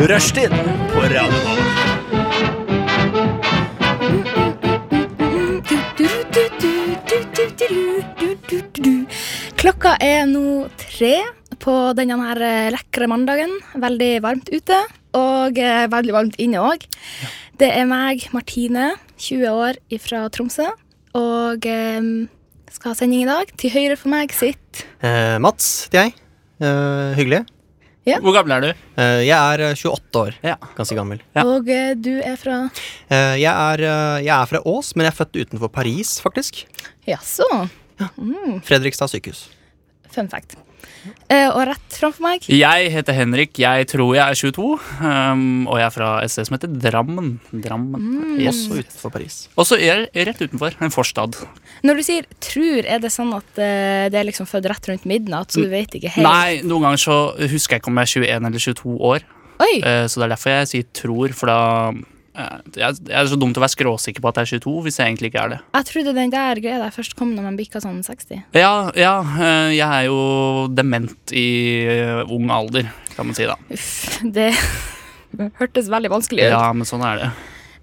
Rushtid på Radio Nova. Klokka er nå tre på denne her eh, lekre mandagen. Veldig varmt ute, og eh, veldig varmt inne òg. Det er meg, Martine, 20 år fra Tromsø, og eh, skal ha sending i dag. Til høyre for meg sitt Eh, Mats heter jeg. Eh, hyggelig. Hvor gammel er du? Eh, jeg er eh, 28 år. Ja. Ganske gammel. Ja. Og eh, du er fra Eh, jeg, er, eh, jeg er fra Ås, men jeg er født utenfor Paris, faktisk. Jaså. Fredrikstad sykehus. Fun fact. Eh, og rett framfor meg Jeg heter Henrik, jeg tror jeg er 22, um, og jeg er fra et sted som heter Drammen. Drammen. Mm. Også utenfor Paris. Også er rett utenfor, en forstad. Når du sier 'tror', er det sånn at eh, det er liksom født rett rundt midnatt, så du vet ikke helt? Nei, noen ganger så husker jeg ikke om jeg er 21 eller 22 år, Oi! eh, så det er derfor jeg sier tror, for da eh, det er det er så dumt å være skråsikker på at jeg er 22, hvis jeg egentlig ikke er det. Jeg trodde den der greia der først kom når man bikka sånn 60. Ja, ja eh, jeg er jo dement i eh, ung alder, kan man si da. Uff, det hørtes veldig vanskelig ut. Ja, men sånn er det.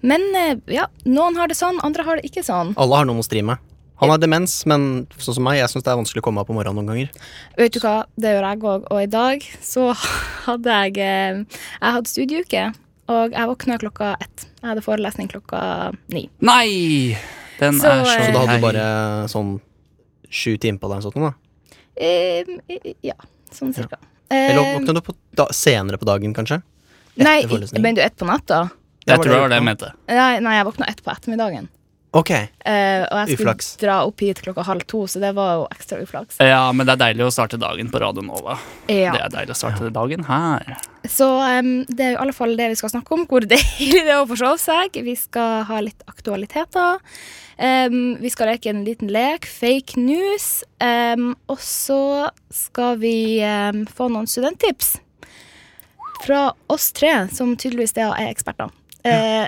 Men eh, ja, noen har det sånn, andre har det ikke sånn. Alle har noen å stri med. Han har demens, men sånn som meg, jeg syns det er vanskelig å komme opp om morgenen noen ganger. Vet du hva, det gjør jeg òg, og i dag så hadde jeg eh, Jeg hadde studieuke, og jeg våkna klokka ett. Jeg hadde forelesning klokka ni. Nei! Den Så, er så eh, Så da hadde lei. du bare sånn sju timer på deg. Sånn, da. Eh, eh, ja, sånn cirka. Eller Eh, våknet du på da senere på dagen, kanskje? nei, forelesning? men du ett på natta? Jeg tror det var det jeg mente. Nei, nei, jeg våkna ett på ettermiddagen. Ok. Eh, og jeg skulle Uflaks. dra opp hit klokka halv to, så det var jo ekstra uflaks. Ja, men det er deilig å starte dagen på Radio Nova. Ja. Det er deilig å starte dagen her. Så em, det er jo i alle fall det vi skal snakke om, hvor deilig det er å forsove seg. Vi skal ha litt aktualiteter. Em, vi skal leke en liten lek, fake news. Em, og så skal vi em, få noen studenttips fra oss tre, som tydeligvis da er eksperter. Eh,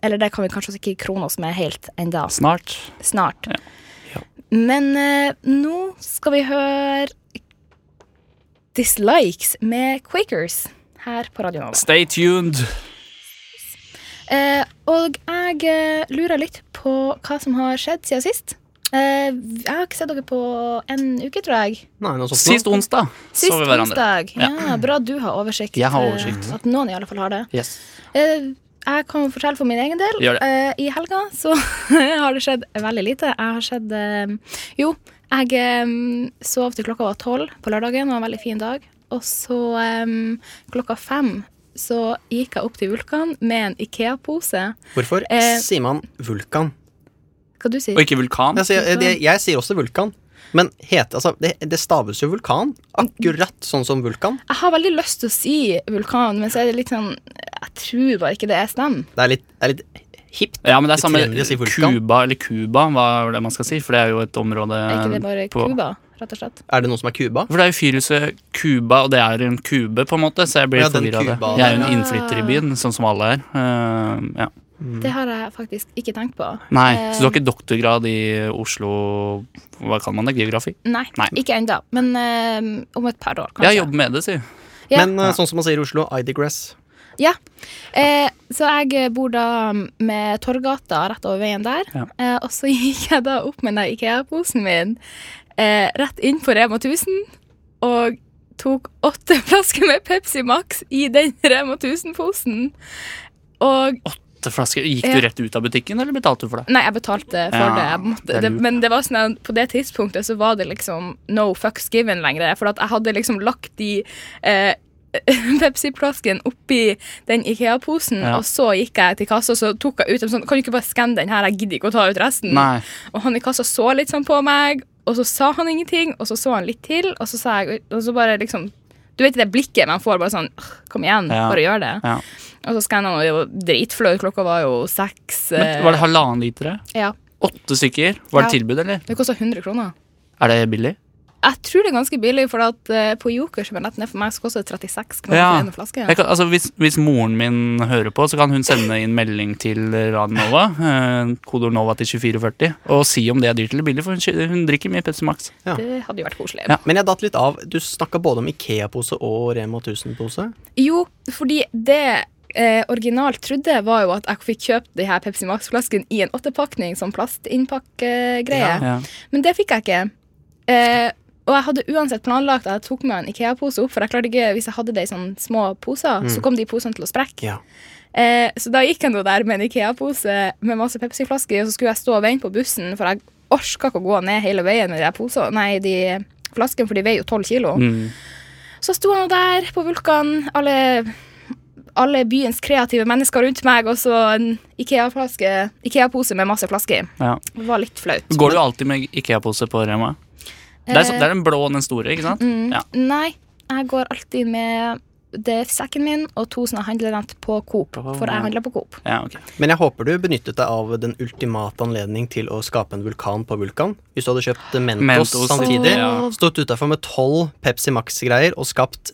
Eller det kan vi kanskje ikke krone oss med helt enda. Snart. snart. Men eh, nå skal vi høre Dislikes med Quakers her på Radio Nova. Stay tuned. Eh, og jeg eh, lurer litt på hva som har skjedd siden sist. Eh, jeg har ikke sett dere på en uke, tror jeg. Nei, noe sånt. Sist onsdag Sist så vi hverandre. onsdag. Ja. bra du har oversikt. Jeg har eh, oversikt. At noen i alle fall har det. Yes. Eh, jeg kan jo fortelle for min egen del. Gjør det. Eh, I helga så har det skjedd veldig lite. Jeg har skjedd eh, Jo, jeg eh, sov til klokka var tolv på lørdagen. Det var en veldig fin dag. Og så eh, klokka fem så gikk jeg opp til Vulkan med en Ikea-pose. Hvorfor Eh, sier man vulkan? Hva du sier Og ikke vulkan. Jeg sier, jeg, jeg, jeg sier også vulkan. Men het, altså, det, det staves jo vulkan. Akkurat sånn som vulkan. Jeg har veldig lyst til å si vulkan, men så er det litt sånn Jeg tror bare ikke det er stem. Det er litt, det er litt hipt. Ja, men det er Det samme trendy å si vulkan. Cuba, eller Cuba, hva er det man skal si? For det er jo et område Er ikke det bare Um, på- Cuba, rett og slett? Er det noen som er Cuba? For det er jo fyrhuset Cuba, og det er en kube, på en måte, så jeg blir Ja, den litt forvirra av det. Cuba, Jeg er jo ja. en innflytter i byen, sånn som alle er. Eh, ja. Det har jeg faktisk ikke tenkt på. Nei, så du har ikke doktorgrad i Oslo Hva kan man det? Geografi? Nei, Nei. ikke ennå. Men eh, om et par år, kanskje. Jeg jobber med det, si. Ja. Men eh, sånn som man sier i Oslo, I digress. Ja. Eh, så jeg bor da mm, med Torgata rett over veien der. Ja. Eh, og så gikk jeg da opp med den Ikea-posen min eh, rett inn på Rema 1000 og tok åtte flasker med Pepsi Max i den Rema 1000-posen. Og Åtte flasker. Gikk Ja. du rett ut av butikken, eller betalte du for det? Nei, jeg betalte for Ja, det. Jeg måtte, det er det. lurt. Men det var sånn at på det tidspunktet så var det liksom no fucks given lenger. For at jeg hadde liksom lagt de eh, Pepsi-flasken oppi den Ikea-posen, Ja. og så gikk jeg til kassa og så tok jeg ut dem sånn Kan du ikke bare skanne den her, jeg gidder ikke å ta ut resten? Nei. Og han i kassa så litt sånn på meg, og så sa han ingenting, og så så han litt til, og så sa jeg Og så bare liksom Du vet det blikket man får, bare sånn «Åh, Kom igjen, Ja. bare gjør det. Ja. Og så skanna han, og det var dritflaut. Klokka var jo seks. eh, Men var det halvannen liter? ja. Åtte stykker? Var det Ja. tilbud, eller? Det kosta 100 kroner. Er det billig? Jeg tror det er ganske billig, for at eh, på Joker som er rett ned for meg, så koster det 36 kroner Ja. for en flaske. Jeg kan, altså, hvis, hvis moren min hører på, så kan hun sende inn melding til Radionova. Eh, kodeord Nova til 2440. Og si om det er dyrt eller billig, for hun, kjø- hun drikker mye Pepsi Max. Ja. Det hadde jo vært koselig. Ja. Men jeg datt litt av. Du snakka både om Ikea-pose og Rema 1000-pose. Jo, fordi det eh, originalt trodde jeg var jo at jeg fikk kjøpt de her Pepsi Max-flaskene i en åttepakning, sånn plastinnpakkegreie. Ja. Men det fikk jeg ikke. Eh, og jeg hadde uansett planlagt at jeg tok med en Ikea-pose opp, for jeg klarte ikke, hvis jeg hadde det i sånne små poser, Mm. så kom de posene til å sprekke. Ja. Eh, så da gikk jeg nå der med en Ikea-pose med masse Pepsi-flasker, i, og så skulle jeg stå og vente på bussen, for jeg orka ikke å gå ned hele veien med de, der posene- nei, de flaskene, for de veier jo 12 kilo. Mm. Så sto jeg nå der på Vulkan, alle, alle byens kreative mennesker rundt meg, og så en Ikea-flaske- Ikea-pose med masse flasker i. Ja. Det var litt flaut. Går du alltid med Ikea-pose på Rema? Det er, så, det er den blå og den store, ikke sant? Mm. Ja. Nei, jeg går alltid med det sekken min og to sånne handlerent på Coop, for jeg handler på Coop. Ja, ok. Men jeg håper du benyttet deg av den ultimate anledning til å skape en vulkan på vulkan. Hvis du hadde kjøpt Mentos, Mentos, samtidig, ja. stått utafor med tolv Pepsi Max-greier og skapt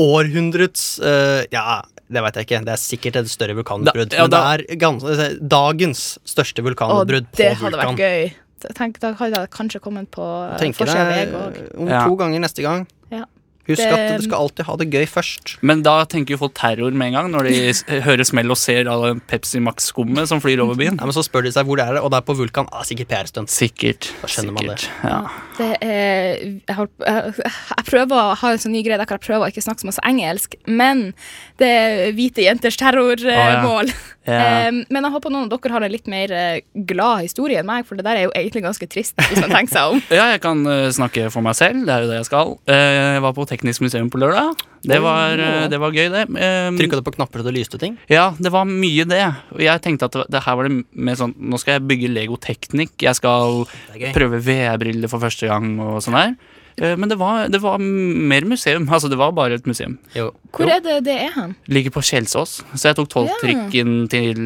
århundrets eh, Ja, det veit jeg ikke. Det er sikkert et større vulkanutbrudd. Da- ja, da- men det er gans, dagens største vulkanutbrudd det på hadde vært vulkan. gøy. Tenk, da hadde jeg kanskje kommet på Tenk forsida av VG deg eh, òg. om Ja. to ganger neste gang. Ja. Husk Det- at du skal alltid ha det gøy først. Men da tenker jo folk terror med en gang, når de s- hører smell og ser all den Pepsi Max-skummet som flyr over byen. Nei, men Så spør de seg hvor det er, og det er på vulkan. Ah, sikkert PR-stunt. Sikkert. Da skjønner man det. sikkert. Ja. Det er, jeg, holdt, jeg, jeg prøver å ha en sånn ny greie der jeg prøver å ikke snakke så masse engelsk, men det er hvite jenters ja. terrormål. Ja. men jeg håper noen av dere har en litt mer eh, glad historie enn meg, for det der er jo egentlig ganske trist, hvis man tenker seg om. Ja, jeg kan eh, snakke for meg selv. Det er jo det jeg skal. Eh, jeg var på Teknisk museum på lørdag. Det var, eh, det var gøy, det. Eh, Trykka du på knapper så det lyste ting? ja, det var mye det. Og jeg tenkte at det, det her var det mer sånn Nå skal jeg bygge Lego-teknikk. Jeg skal Det er gøy. prøve VR-briller for første gang og sånn der. Eh, men det var, det var mer museum. Altså, det var bare et museum. Jo. Hvor er det det er hen? Ligger på Kjelsås. Så jeg tok tolvtrikken til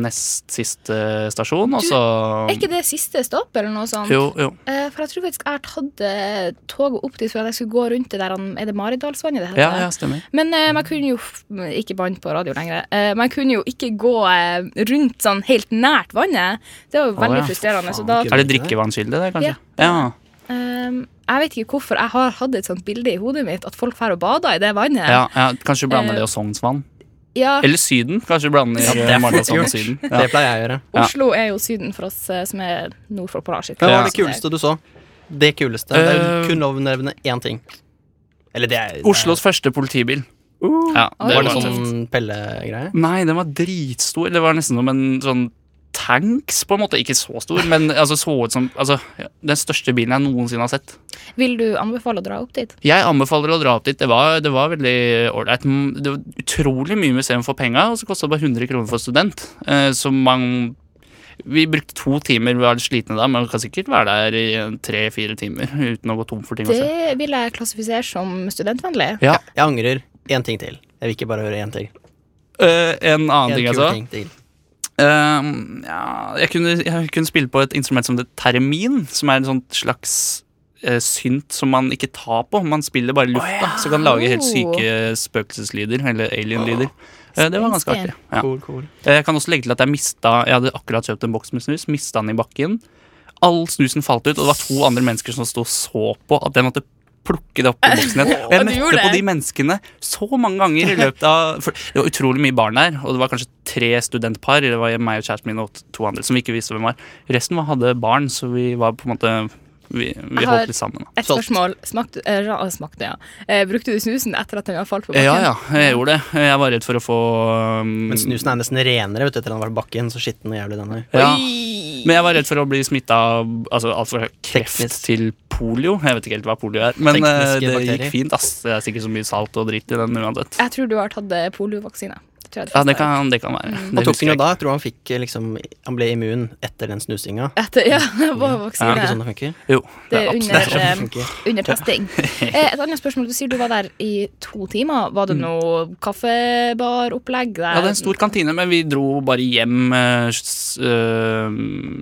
nest siste stasjon, og så Er ikke det siste stopp, eller noe sånt? Jo, jo. Eh, for jeg tror faktisk jeg har tatt eh, toget opp dit for at jeg skulle gå rundt det der han- Er det Maridalsvannet det heter? Ja, ja, stemmer. Men eh, man kunne jo f- Ikke bann på radio lenger. Eh, man kunne jo ikke gå eh, rundt sånn helt nært vannet. Det var jo veldig ja, for frustrerende. Så faen, da, ikke- Er det drikkevannskilde, det, kanskje? ja. eh, jeg vet ikke hvorfor jeg har hatt et sånt bilde i hodet mitt at folk drar og bader i det vannet. Ja, ja, kanskje du blander Eh, det og Sognsvann. Ja, Eller Syden. Kanskje du blander Ja, det ja, er Mardalsvann og faktisk Syden. Ja. Det pleier jeg å gjøre. ja. Oslo er jo Syden for oss eh, som er nord for Hva polarsirkelen. var det kuleste du så? Det kuleste. Det er Eh, kun lov å nevne én ting. Eller det er det er- Oslos første politibil. Uh. Ja, Var det var det tøft. sånn Pelle-greie? Nei, den var dritstor. Det var nesten som en sånn tanks, på en måte. Ikke så stor, men altså, så ut som altså, ja, den største bilen jeg noensinne har sett. Eh, Vil du anbefale å dra opp dit? Jeg anbefaler å dra opp dit. Det var, det var veldig ålreit. Mm, Det var utrolig mye museum for penga, og så kosta det bare 100 kroner for student. Eh, så man Vi brukte to timer, vi var litt slitne da, men man kan sikkert være der i tre-fire timer uten å gå tom for ting å se. Det vil jeg klassifisere som studentvennlig. Ja. Jeg angrer. Én ting til. Jeg vil ikke bare høre én ting. Eh, en annen En ting, kul altså. ting til. Eh, ja, jeg, kunne, jeg kunne spille på et instrument som det termin, som er en sånn slags eh, synt som man ikke tar på. Man spiller bare i lufta, så kan lage helt Oh. syke spøkelseslyder, eller alien-lyder. Eh, det var ganske Spenstig. artig. Ja. Cool, cool. Eh, Jeg kan også legge til at jeg mista Jeg hadde akkurat kjøpt en boks med snus, mista den i bakken. All snusen falt ut, og det var to andre mennesker som sto og så på at jeg måtte plukke det opp i boksen igjen. Ja, Og jeg du møtte gjorde på det. de menneskene så mange ganger i løpet av for Det var utrolig mye barn der, og det var kanskje tre studentpar. Det var meg og kjæresten min og to andre som vi ikke visste hvem var. Resten var- hadde barn, så vi var på en måte Vi, vi Jeg har- holdt litt sammen. da. Et Solgt. spørsmål. Smakte, eh, ra- smakte ja. eh, brukte du snusen etter at den har falt på bakken? Ja, ja, jeg gjorde det. Jeg var redd for å få um, Men snusen er nesten renere vet du, etter at den har vært i bakken. Så skitten og jævlig den er. ja. Oi. Men jeg var redd for å bli smitta av altså, alt fra kreft Teknisk. til polio. Jeg vet ikke helt hva polio er, men eh, Tekniske det bakterier. gikk fint. ass Det er sikkert så mye salt og dritt i den uansett. Jeg tror du har tatt eh, poliovaksine. tror jeg de Ja, det fleste har. kan, det kan være. Han Det tok den jo husker jeg ikke. da. Jeg tror han fikk eh, liksom Han ble immun etter den snusinga. Etter, ja, på vaksine. Er det ikke sånn det funker? Jo, det det er er absolutt under, sånn. eh, Det funker. under testing. Eh, Et annet spørsmål. Du sier du var der i to timer. Var Mm. det noe kaffebaropplegg der? Vi hadde en stor kantine, men vi dro bare hjem. eh, s- eh,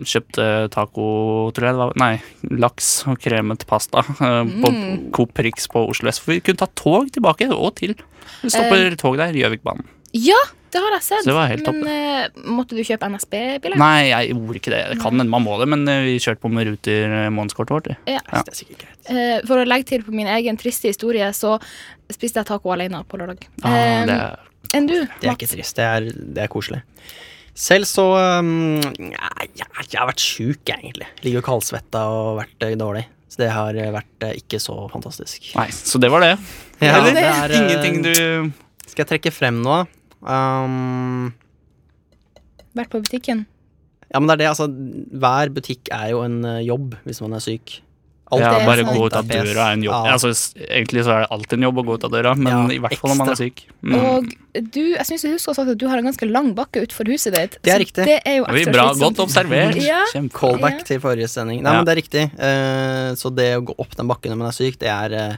Kjøpte taco, tror jeg det var. Nei, laks og kremet pasta eh, Mm. på Coop Prix på Oslo S. For vi kunne ta tog tilbake og til. Vi Eh, stopper tog der, Gjøvikbanen. Ja, det har jeg sett. Så det var helt topp, men eh, måtte du kjøpe NSB-billett? Nei, jeg gjorde ikke det. Det kan hende man må det, men eh, vi kjørte på med Ruter eh, månedskortet vårt. vi. Ja. Det er sikkert greit. Eh, For å legge til på min egen triste historie, så spiste jeg taco alene på lørdag. Ah, Eh, det er Enn du? Det er Mats? ikke trist. Det er, det er koselig. Selv så um, ja, jeg, jeg har vært sjuk, jeg, egentlig. Ligger jo kaldsvetta og vært eh, dårlig. Så det har eh, vært eh, ikke så fantastisk. Nei, så det var det. Ja, Eller det er, eh, ingenting du Skal jeg trekke frem noe? Um, Vært på butikken? ja, men det er det, altså. Hver butikk er jo en eh, jobb hvis man er syk. Alt ja, er Bare sant. gå ut av Alt er døra er en jobb. Ja. Altså, s- egentlig så er det alltid en jobb å gå ut av døra, men Ja, i hvert fall når man er ekstra. syk. Mm. Og du, jeg synes jeg husker også at du har en ganske lang bakke utenfor huset ditt. Det er så riktig. Det er jo sånn Oi, ekstra bra, slitsomt. Godt observert. Ja. Kjempe. Callback Ja. til forrige sending. Nei, Ja. men det er riktig. Eh, så det å gå opp den bakken når man er syk, det er eh,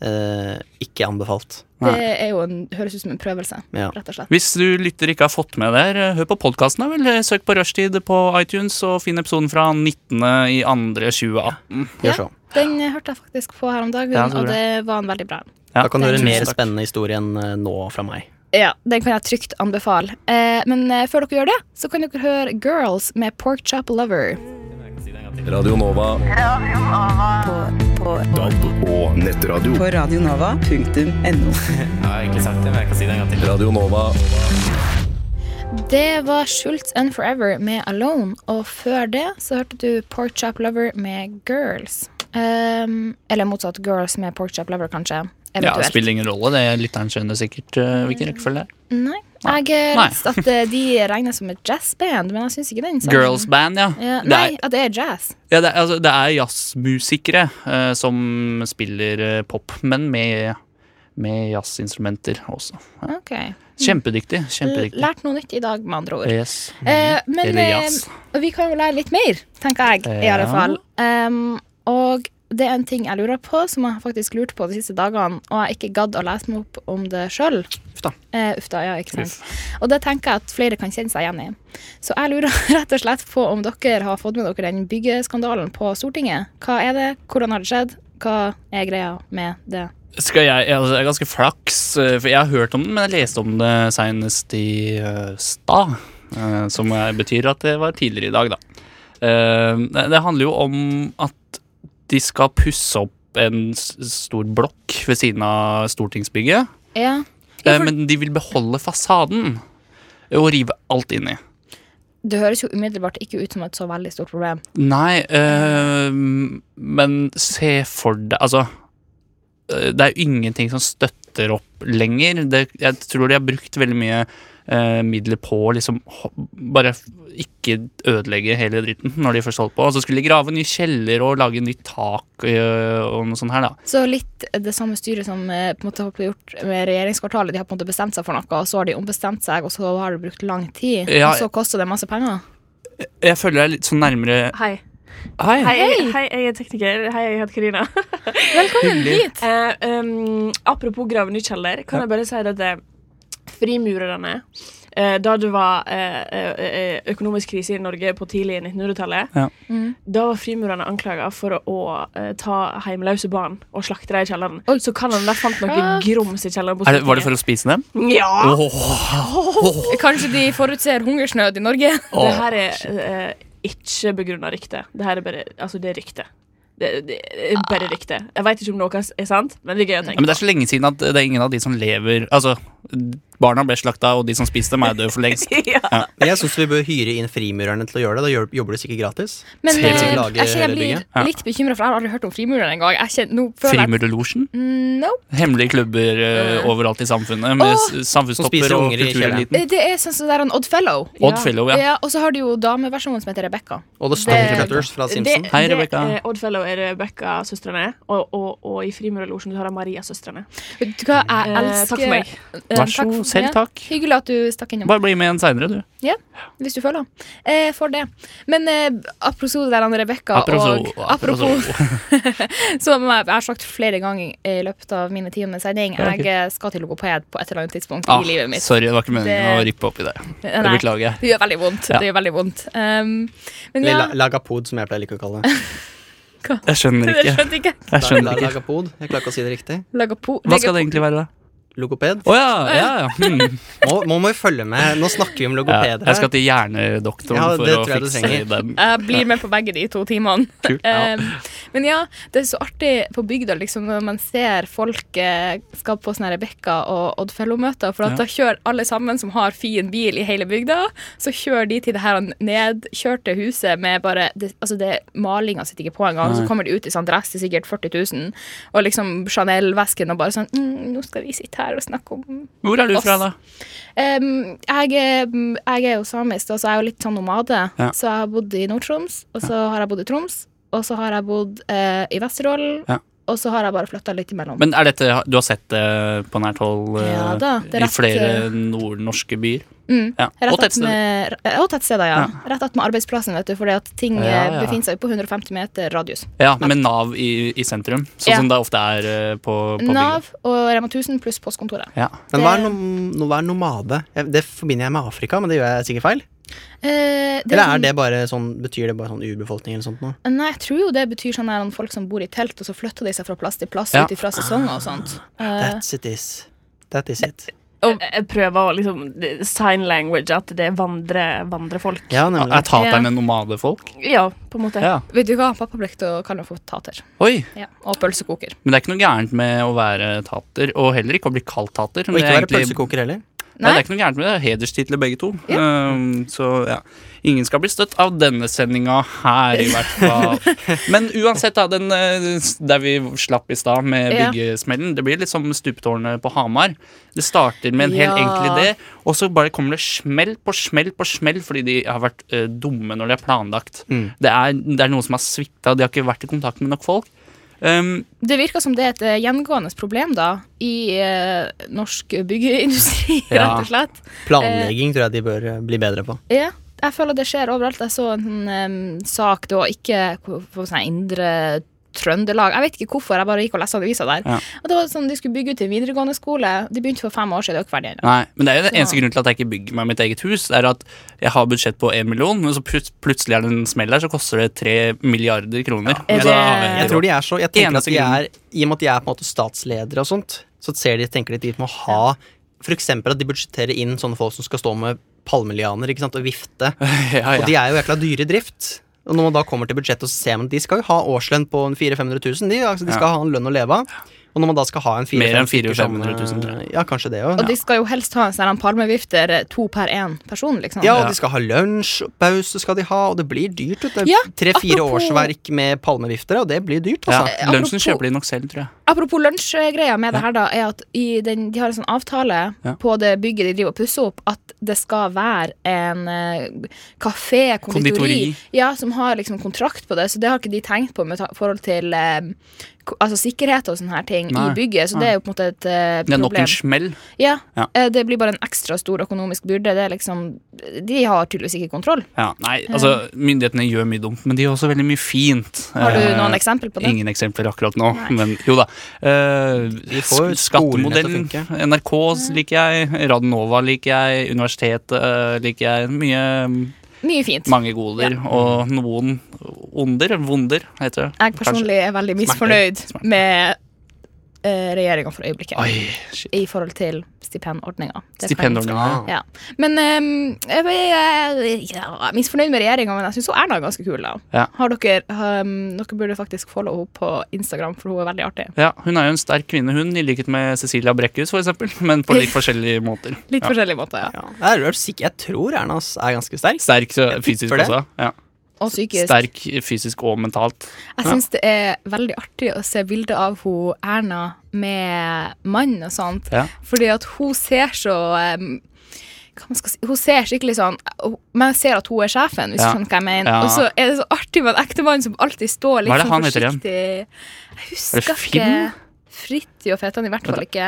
eh, ikke anbefalt. Det er jo en, høres ut som en prøvelse, Ja. rett og slett. Hvis du lytter ikke har fått med der, hør på podkasten. vel. Eh, Søk på Rushtid på iTunes og finn episoden fra 19. i 2. 2018. Gjør Ja. så. Den hørte jeg faktisk på her om dagen, Ja, så bra. og det var en veldig bra en. Ja. Da kan du høre Tusen mer takk. spennende historie enn eh, nå fra meg. Ja, Den kan jeg trygt anbefale. Eh, men eh, før dere gjør det, så kan dere høre Girls med Pork Chop Lover. Radio Nova. på, på, DAB og nettradio. på radionova.no. Radio Nova. Det var Schultz and Forever med Alone, og før det så hørte du Pork Chop Lover med Girls. Ehm, eller motsatt Girls med Pork Chop Lover, kanskje. Ja, Eventuelt. det spiller ingen rolle. det Lytteren skjønner sikkert eh, Mm. hvilken rekkefølge det er. Nei. Jeg eh, Nei. leste at eh, de regnes som et jazzband, men jeg syns ikke den. sangen- Girls band, ja. Ja, Det er- nei, at det er jazz. Ja, det, er- altså, det er jazzmusikere eh, som spiller eh, pop, men med, med jazzinstrumenter også. Ok. Kjempedyktig. kjempedyktig. Lært noe nytt i dag, med andre ord. Yes. Eh, men Eller eh, Mm. jazz. vi kan jo lære litt mer, tenker jeg, i Ja. alle fall. Em, og det er en ting jeg lurer på, som jeg faktisk lurte på de siste dagene, og jeg har ikke gadd å lese meg opp om det sjøl. Uff da. Eh, uff da, ja, ikke sant. Og det tenker jeg at flere kan kjenne seg igjen i. Så jeg lurer rett og slett på om dere har fått med dere den byggeskandalen på Stortinget. Hva er det? Hvordan har det skjedd? Hva er greia med det? Skal jeg, altså, det er ganske flaks, eh, for jeg har hørt om den, men jeg leste om det senest i eh, stad. eh, Som eh, betyr at det var tidligere i dag, da. Eh, Det det handler jo om at de skal pusse opp en s- stor blokk ved siden av stortingsbygget. Ja, eh, Men de vil beholde fasaden og rive alt inni. det høres jo umiddelbart ikke ut som et så veldig stort problem. Nei, eh, men se for deg Altså, eh, det er jo ingenting som støtter opp lenger. Det, jeg tror de har brukt veldig mye eh, midler på å liksom ho- bare f- ikke ødelegge hele dritten når de først holdt på. Og så skulle de grave ny kjeller og lage nytt tak eh, og noe sånt her, da. Så litt det samme styret som eh, på en måte har blitt gjort med regjeringskvartalet. De har på en måte bestemt seg for noe, og så har de ombestemt seg, og så har det brukt lang tid. Ja. Og så koster det masse penger. Jeg føler jeg er litt sånn nærmere Hei. Hei! Hei, jeg- hei, jeg er tekniker. Hei, jeg heter Karina. Velkommen Hyggelig. hit! Eh, um, apropos grave ny kjeller, kan jeg bare si det at eh, frimurerne eh, Da det var eh, eh, eh, økonomisk krise i Norge på tidlig 1900-tallet, Ja. da var frimurerne anklaga for å, å eh, ta hjemløse barn og slakte dem i kjelleren. Så kan han der fant noe Fuck. grums i kjelleren. på Er det, var det Stortinget. for å spise dem? Ja! Kanskje de forutser hungersnød i Norge? Det her er eh, ikke begrunna rykte. Det her er bare Altså, det er rykte. Det, det er bare rykte. Jeg veit ikke om noe er sant, men det er gøy Ah. Ja, men å tenke det er så lenge siden at det er ingen av de som lever Altså, barna ble slakta, og de som spiste dem, er døde for lengst. på. ja. Men jeg syns vi bør hyre inn frimurerne til å gjøre det. Da gjør- jobber de sikkert gratis. Men Helt eh, sikkert. Lage jeg kjenner jeg hele blir bygget. Ja. litt bekymra, for jeg har aldri hørt om frimureren engang. Jeg kjenner- nå føler jeg- Frimurlosjen? Mm, No. Hemmelige klubber eh, overalt i samfunnet med Åh! s- Som samfunnstopper spiser og unger i kultureliten. Det er sånn som det er en Oddfellow. Oddfellow, ja. Ja, og så har de jo dameversjonen som heter Rebekka. Og The Stormtroopers fra Simpson. Det, Hei, det Rebecca. er Oddfellow er Rebekka-søstrene, og, og, og i Frimurerlosjen har de Maria-søstrene. Vet du hva, jeg Eh, elsker takk for meg. Eh, Vær så takk Selv Ja. takk. Hyggelig at du stakk innom. Bare bli med igjen seinere, du. Hvis du føler eh, for det. Men eh, apropos det der han Rebekka og Apropos- Apropos. Som jeg jeg har sagt flere ganger i løpet av mine timer med sending, Ja, ok. jeg eh, skal til logoped på et eller annet tidspunkt Ah, i livet mitt. sorry, det var ikke meningen å Det- rippe opp i det. Eh, Det Nei, beklager jeg. det gjør veldig vondt. Ja. Det gjør veldig vondt. Um, men ja, Eller la- Lagapod, som jeg pleier å like å kalle det. Jeg skjønner jeg ikke. skjønte ikke. Jeg La- skjønner ikke. Lagapod. Jeg klarer ikke å si det riktig. Lagapo Hva skal det egentlig være, da? Logoped. Å ja, ja, ja. Hmm. Må, må, må vi følge med. Nå snakker vi om ja. logopeder. Jeg skal til hjernedoktoren Ja, for det å tror jeg du fikse trenger. den. Jeg blir med på begge de to timene. Ehm, Kult. Ja. Um, men ja, det er så artig på bygda liksom, når man ser folk eh, skal på sånne Rebekka og Oddfellow-møter, for at Ja. da kjører alle sammen som har fin bil i hele bygda, så kjører de til det her nedkjørte huset med bare det, Altså, det malinga sitter ikke på engang, så Nei. kommer de ut i sånn dress til sikkert 40 000, og liksom Chanel-vesken og bare sånn mm, Nå skal vi sitte her og snakke om Hvor er du fra, da? Em, jeg, er- jeg er jo samisk, da, så jeg er jo litt sånn nomade. Ja. Så jeg har bodd i Nord-Troms, og så har jeg bodd i Troms, og så har jeg bodd eh, i Vesterålen, Ja. og så har jeg bare flytta litt imellom. Men er dette, du har sett det på nært hold eh, Ja da, det er i rett, flere eh, nordnorske byer? mm, Ja. Og Rett tettsteder. attmed eh, og tettsteder, ja. Rett attmed arbeidsplassen, vet du, fordi at ting eh, Ja, ja. befinner seg på 150 meter radius. Ja, med Nav i, i sentrum, sånn Ja. som det ofte er eh, på, på bygda. Nav og Rema 1000 pluss postkontoret. Ja. Men hva er, nom no- hva er nomade? Jeg- Det forbinder jeg med Afrika, men det gjør jeg sikkert feil. Eh, det, Eller er det bare sånn, betyr det bare sånn urbefolkning eller sånt noe? Nei, jeg tror jo det betyr sånn her, folk som bor i telt, og så flytter de seg fra plass til plass Ja. ut ifra sesonger og sånt. Eh, That's it is. That is it. Og jeg prøver å liksom sign language, at det er vandre, vandrefolk. Ja, nemlig. Er taterne nomadefolk? Ja, på en måte. Ja. Vet du hva, pappa brukte å kalle meg for tater. Oi! Ja. Og pølsekoker. Men det er ikke noe gærent med å være tater, og heller ikke å bli kalt tater. Og Det ikke er være egentlig- pølsekoker heller. Nei. det Nei. er ikke noe gærent med det. det. er Hederstitler begge to. Um, så ja, ingen skal bli støtt av denne sendinga her, i hvert fall. Men uansett, da, den eh, der vi slapp i stad med Ja. byggesmellen, det blir litt som stuptårnet på Hamar. Det starter med en Ja. helt enkel idé, og så bare kommer det smell på smell på smell fordi de har vært eh, dumme når de har planlagt. Mm. Det, er, det er noen som har svikta, de har ikke vært i kontakt med nok folk. Um, Det virker som det er et eh, gjengående problem da, i eh, norsk byggeindustri, Ja. rett og slett. Planlegging tror jeg de bør eh, bli bedre på. Ja. Jeg føler det skjer overalt. Jeg så en sånn, em, sak da, ikke på på sånn indre Trøndelag. Jeg vet ikke hvorfor, jeg bare gikk og leste avisa der. Ja. Og det var sånn, De skulle bygge ut en videregående skole. De begynte for fem år siden, det er jo ikke ferdig ennå. Nei, men det er jo den Så- eneste grunnen til at jeg ikke bygger meg mitt eget hus, er at jeg har budsjett på en million, men så plut plutselig er det en smell der, så koster det tre milliarder kroner. Er Og så det- har vi- Jeg tror de er så Jeg tenker at Eneste de er I og med at de er på en måte statsledere og sånt, så ser de, tenker de at de må ha For eksempel at de budsjetterer inn sånne folk som skal stå med palmelianer ikke sant, og vifte. Og ja, ja. de er jo jækla dyre i drift. Og når man da kommer til budsjettet og så ser man at de skal jo ha årslønn på en 400 000-500 000. De, altså, de skal ha en lønn å leve av. Og når man da skal ha en 400 Mer enn 400 400 000, tror jeg. Ja, kanskje det Og òg. de skal jo helst ha en sånn her palmevifter, eh, to per én person, liksom. Ja, og de skal ha lunsjpause, skal de ha, og det blir dyrt. vet du. Ja, Tre-fire apropos- årsverk med palmeviftere, og det blir dyrt, ja. altså. Lunsjen Apropos- kjøper de nok selv, tror jeg. Apropos lunsjgreia med det her, da, er at i den, de har en sånn avtale Ja. på det bygget de driver og pusser opp, at det skal være en eh, kafé, konditori, Konditori. Ja, som har liksom kontrakt på det. Så det har ikke de tenkt på med ta forhold til eh, ko- altså sikkerhet og sånne her ting Nei. i bygget, så det er jo på en måte et eh, Det er nok problem. en smell. Ja, Ja. eh, Det blir bare en ekstra stor økonomisk byrde. Det er liksom, de har tydeligvis ikke kontroll. Ja, nei, altså, myndighetene gjør mye dumt, men de gjør også veldig mye fint. Har du Eh, noen eksempel på det? Ingen eksempler akkurat nå, Nei. men jo da. Eh, Vi får sk- skolene til å skattemodellen, NRK liker jeg, Radnova liker jeg, universitetet eh, liker jeg. Mye mm, Mye fint. Mange goder og noen onder. Vonder, heter det. Jeg personlig er veldig misfornøyd med uh, regjeringa for øyeblikket. Oi, shit. i forhold til stipendordninga. Det kan jeg Stipendordninga. huske. Ja. Men ehm, jeg, jeg, jeg er misfornøyd med regjeringa, men jeg syns Erna er ganske kul. da. Ja. Har dere, ehm, dere burde faktisk followe henne på Instagram, for hun er veldig artig. Ja, hun er jo en sterk kvinne, hun, i likhet med Cecilia Brekkhus, for eksempel. Men på litt forskjellige måter. Litt Ja. forskjellige måter. ja. Ja. Jeg, er sikker, jeg tror Erna ass, er ganske sterk. Sterk så- fysisk tipper det. også. Ja. Og psykisk. Sterk fysisk og mentalt. Jeg syns det er veldig artig å se bilder av hun Erna med mann og sånt, Ja. fordi at hun ser så ehm, hva man skal si, hun ser skikkelig sånn Men jeg ser at hun er sjefen, hvis Ja. du skjønner hva jeg mener. Ja. Og så er det så artig med en ektemann som alltid står litt Hva er det sånn han heter igjen? forsiktig Jeg Er husker det Finn? ikke. Fridtjof heter han i hvert fall ikke.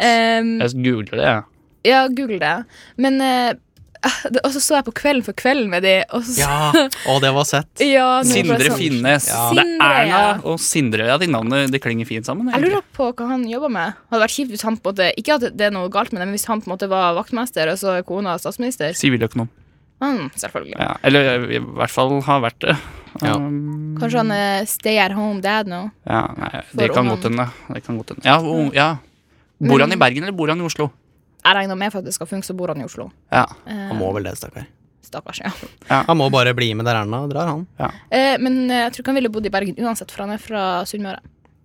Ehm, Jeg googler det, jeg. Ja, google det. Men eh, det- Og så så jeg på Kvelden for kvelden med de, og så Ja, og det var sett. Ja, nå ble det Sindre sånn- Finnes. Ja. Det Sindre, er Erna ja. og Sindre. Ja, de navnene de klinger fint sammen. Jeg egentlig. lurer på hva han jobber med. Hadde vært kjipt hvis han på en måte Ikke at det er noe galt med det, men hvis han på en måte var vaktmester, og så er kona statsminister. Siviløkonom. Mm, selvfølgelig. Ja. Eller eh, i hvert fall har vært det. Ja. Um, Kanskje han er stay at home dad nå. ja, nei, det For kan ungene. godt hende. Det kan godt hende. Ja, og- ja. Bor han i Bergen, eller bor han i Oslo? Jeg regner med for at det skal funke, så bor han i Oslo. Ja. Eh, Han må vel det, stakkar. Stakkars, ja. Han må bare bli med der Erna drar, han. Eh, men eh, jeg tror ikke han ville bodd i Bergen uansett, for han er fra Sunnmøre.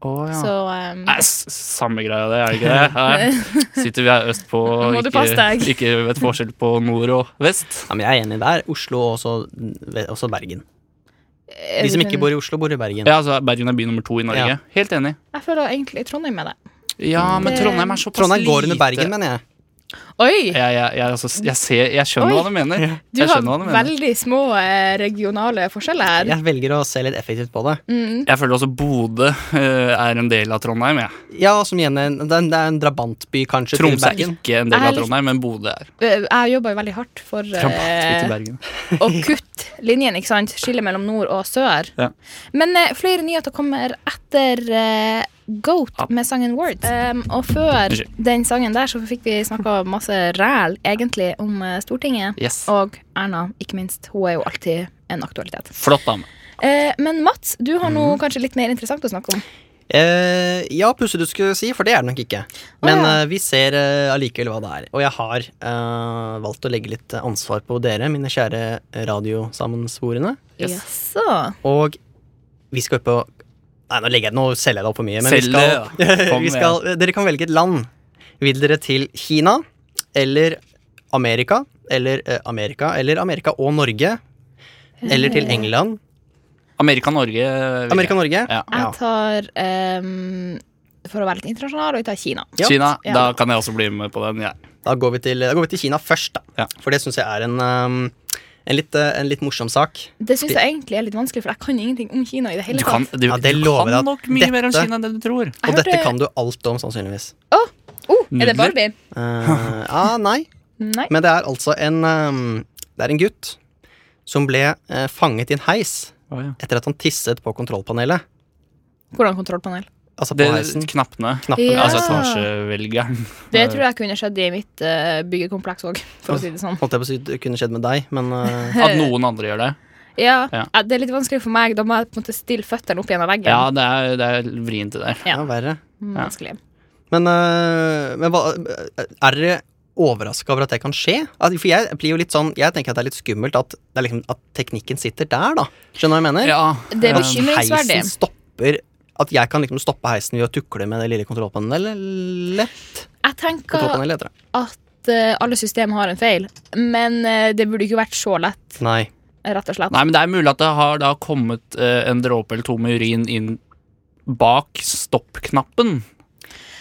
Oh, ja. Så ehm, Nei, s- samme greia, det er ikke det. Her sitter vi her øst på og Må du passe ikke, deg. ikke vet forskjell på nord og vest. Ja, men jeg er enig der. Oslo og også, også Bergen. De som ikke bor i Oslo, bor i Bergen. Ja, altså Bergen er by nummer to i Norge. Ja. Helt enig. Jeg føler egentlig Trondheim med det. Ja, men Det- Trondheim er såpass Trondheim går under lite. Bergen, mener jeg. Oi! Jeg, jeg, jeg, altså, jeg, ser, jeg Oi. skjønner hva du mener. Du Jeg har skjønner hva du mener. veldig små eh, regionale forskjeller her. Jeg velger å se litt effektivt på det. Mm. Jeg føler også Bodø eh, er en del av Trondheim. jeg. Ja, som igjen er en, det er en- det er en drabantby, kanskje, til Tromsø er Bergen. ikke en del Jeg av er litt- Trondheim, men Bodø er. Eh, Jeg jobber jo veldig hardt for Rabatt ut i eh, Bergen. å kutte linjen, ikke sant? Skille mellom nord og sør. Ja. Men eh, flere nyheter kommer etter eh, Goat med sangen Words. Um, og før Unnskyld. den sangen der så fikk vi snakka masse ræl, egentlig, om eh, Stortinget. Yes. Og Erna, ikke minst. Hun er jo alltid en aktualitet. Flott dame. Eh, men Mats, du har Mhm. noe kanskje litt mer interessant å snakke om. Eh, ja, pusse du skulle si, for det er det nok ikke. Å, Men ja. eh, vi ser eh, allikevel hva det er. Og jeg har eh, valgt å legge litt ansvar på dere, mine kjære radiosammensvorne. Yes. Jaså. Og vi skal opp på Nei, nå, legger jeg, nå selger jeg det opp for mye. Men vi Selg det, skal, ja. Kom vi skal, dere kan velge et land. Vil dere til Kina eller Amerika? Eller eh, Amerika eller Amerika og Norge? Eller til England? Amerika-Norge. vil jeg. Amerika-Norge? Eh. Ja. Jeg tar ehm, For å være litt internasjonal, og jeg tar Kina. Ja. Kina. Ja. Da kan jeg også bli med på den. jeg. Da går vi til, da går vi til Kina først, da. Ja. For det syns jeg er en, um, en, litt, eh, en litt morsom sak. Det syns jeg egentlig er litt vanskelig, for jeg kan ingenting om Kina i det hele Du kan, tatt. du, Ja, det du lover jeg kan at nok mye mer om dette- Kina enn det du tror. Jeg Og dette hørte- kan du alt om, sannsynligvis. Oh, er Nudler? det Barbie? Eh, ah, nei. Nei. Men det er altså en um, Det er en gutt som ble eh, fanget i en heis etter at han tisset på kontrollpanelet. Hvordan kontrollpanel? Altså på Det heisen. Knappene. Knappen. Ja. Altså etasjevelgeren. Det tror jeg kunne skjedd i mitt eh, byggekompleks òg, for å si det sånn. Holdt jeg på å si det kunne skjedd med deg, men eh, At noen andre gjør det. Ja, Ja. eh, Det er litt vanskelig for meg. Da må jeg på en måte stille føttene opp igjen av veggen. Ja, det er, det er vrient, det der. ja, verre. Mm, ja. Vanskelig. Men, eh, men hva, er dere overraska over at det kan skje? At, for jeg blir jo litt sånn Jeg tenker at det er litt skummelt at, det er liksom, at teknikken sitter der, da. Skjønner du hva jeg mener? Ja, Det er ja. bekymring. bekymringsverdig. heisen stopper At jeg kan liksom stoppe heisen ved å tukle med det lille kontrollpanelet. Jeg tenker Kontrollpanelet heter det. at eh, alle system har en feil, men eh, det burde ikke vært så lett, Nei. rett og slett. Nei, men det er mulig at det har da kommet eh, en dråpe eller to med urin inn bak stoppknappen.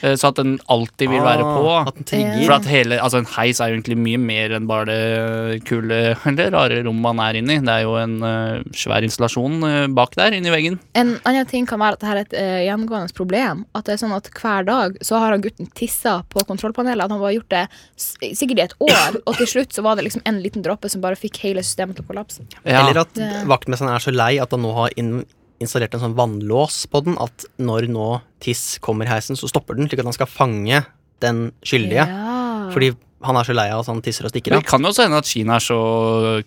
Eh, så at den alltid vil være Ah, på. At den trigger. For at hele, altså En heis er jo egentlig mye mer enn bare det kule eller rare rommet man er inni. Det er jo en eh, svær installasjon eh, bak der, inni veggen. En annen ting kan være at dette er et eh, gjengående problem. At det er sånn at Hver dag så har han gutten tissa på kontrollpanelet. At han har gjort det s- sikkert i et år, og til slutt så var det liksom en liten dråpe som bare fikk hele systemet til å kollapse. Ja. Eller at Det- vaktmesteren er så lei at han nå har inn, installert en sånn vannlås på den at når nå tiss kommer i heisen, så stopper den, slik at han skal fange den skyldige. Ja. Fordi han er så lei av at han tisser og stikker Det av. kan jo også hende at Kina er så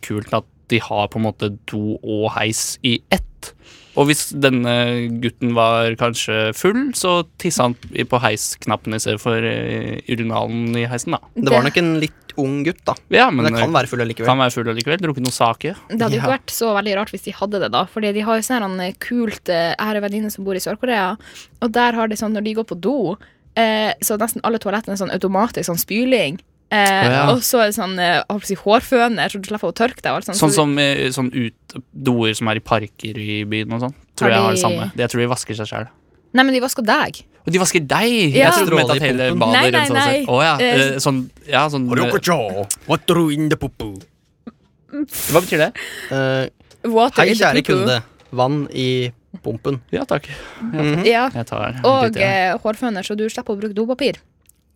kult at de har på en måte do og heis i ett. Og hvis denne gutten var kanskje full, så tissa han i- på heisknappen istedenfor eh, urinalen i heisen, da. Det var nok en litt ung gutt, da. Ja, men, Men det kan være, være full allikevel. kan være full allikevel. Drukket noe sake. Det hadde jo ikke Ja. vært så veldig rart hvis de hadde det, da. Fordi de har jo sånn her, eh, kult eh, Jeg har en venninne som bor i Sør-Korea, og der har de sånn når de går på do, eh, så er nesten alle toalettene sånn automatisk sånn spyling. Eh, Ja. Og så er det sånn eh, hva skal jeg si, hårføner, så du slipper å tørke deg. og alt sånt. Sånn Så som eh, sånn ut, doer som er i parker i byen og sånn. Har Tror jeg har de- det samme. Jeg tror de vasker seg sjøl. du, nei, men de vasker deg. Og de vasker deg! Ja. Jeg trodde du mente at hele Stråler i badet pumpen. Nei, rensa nei, nei. seg. Å ja. Eh, eh, Sånn, ja, sånn Hva betyr det? Eh, Water hei, in the kjære poo-poo. kunde. Vann i pumpen. Ja takk. Ja. Jeg tar Og Mm. litt, ja. eh, hårføner, så du slipper å bruke dopapir.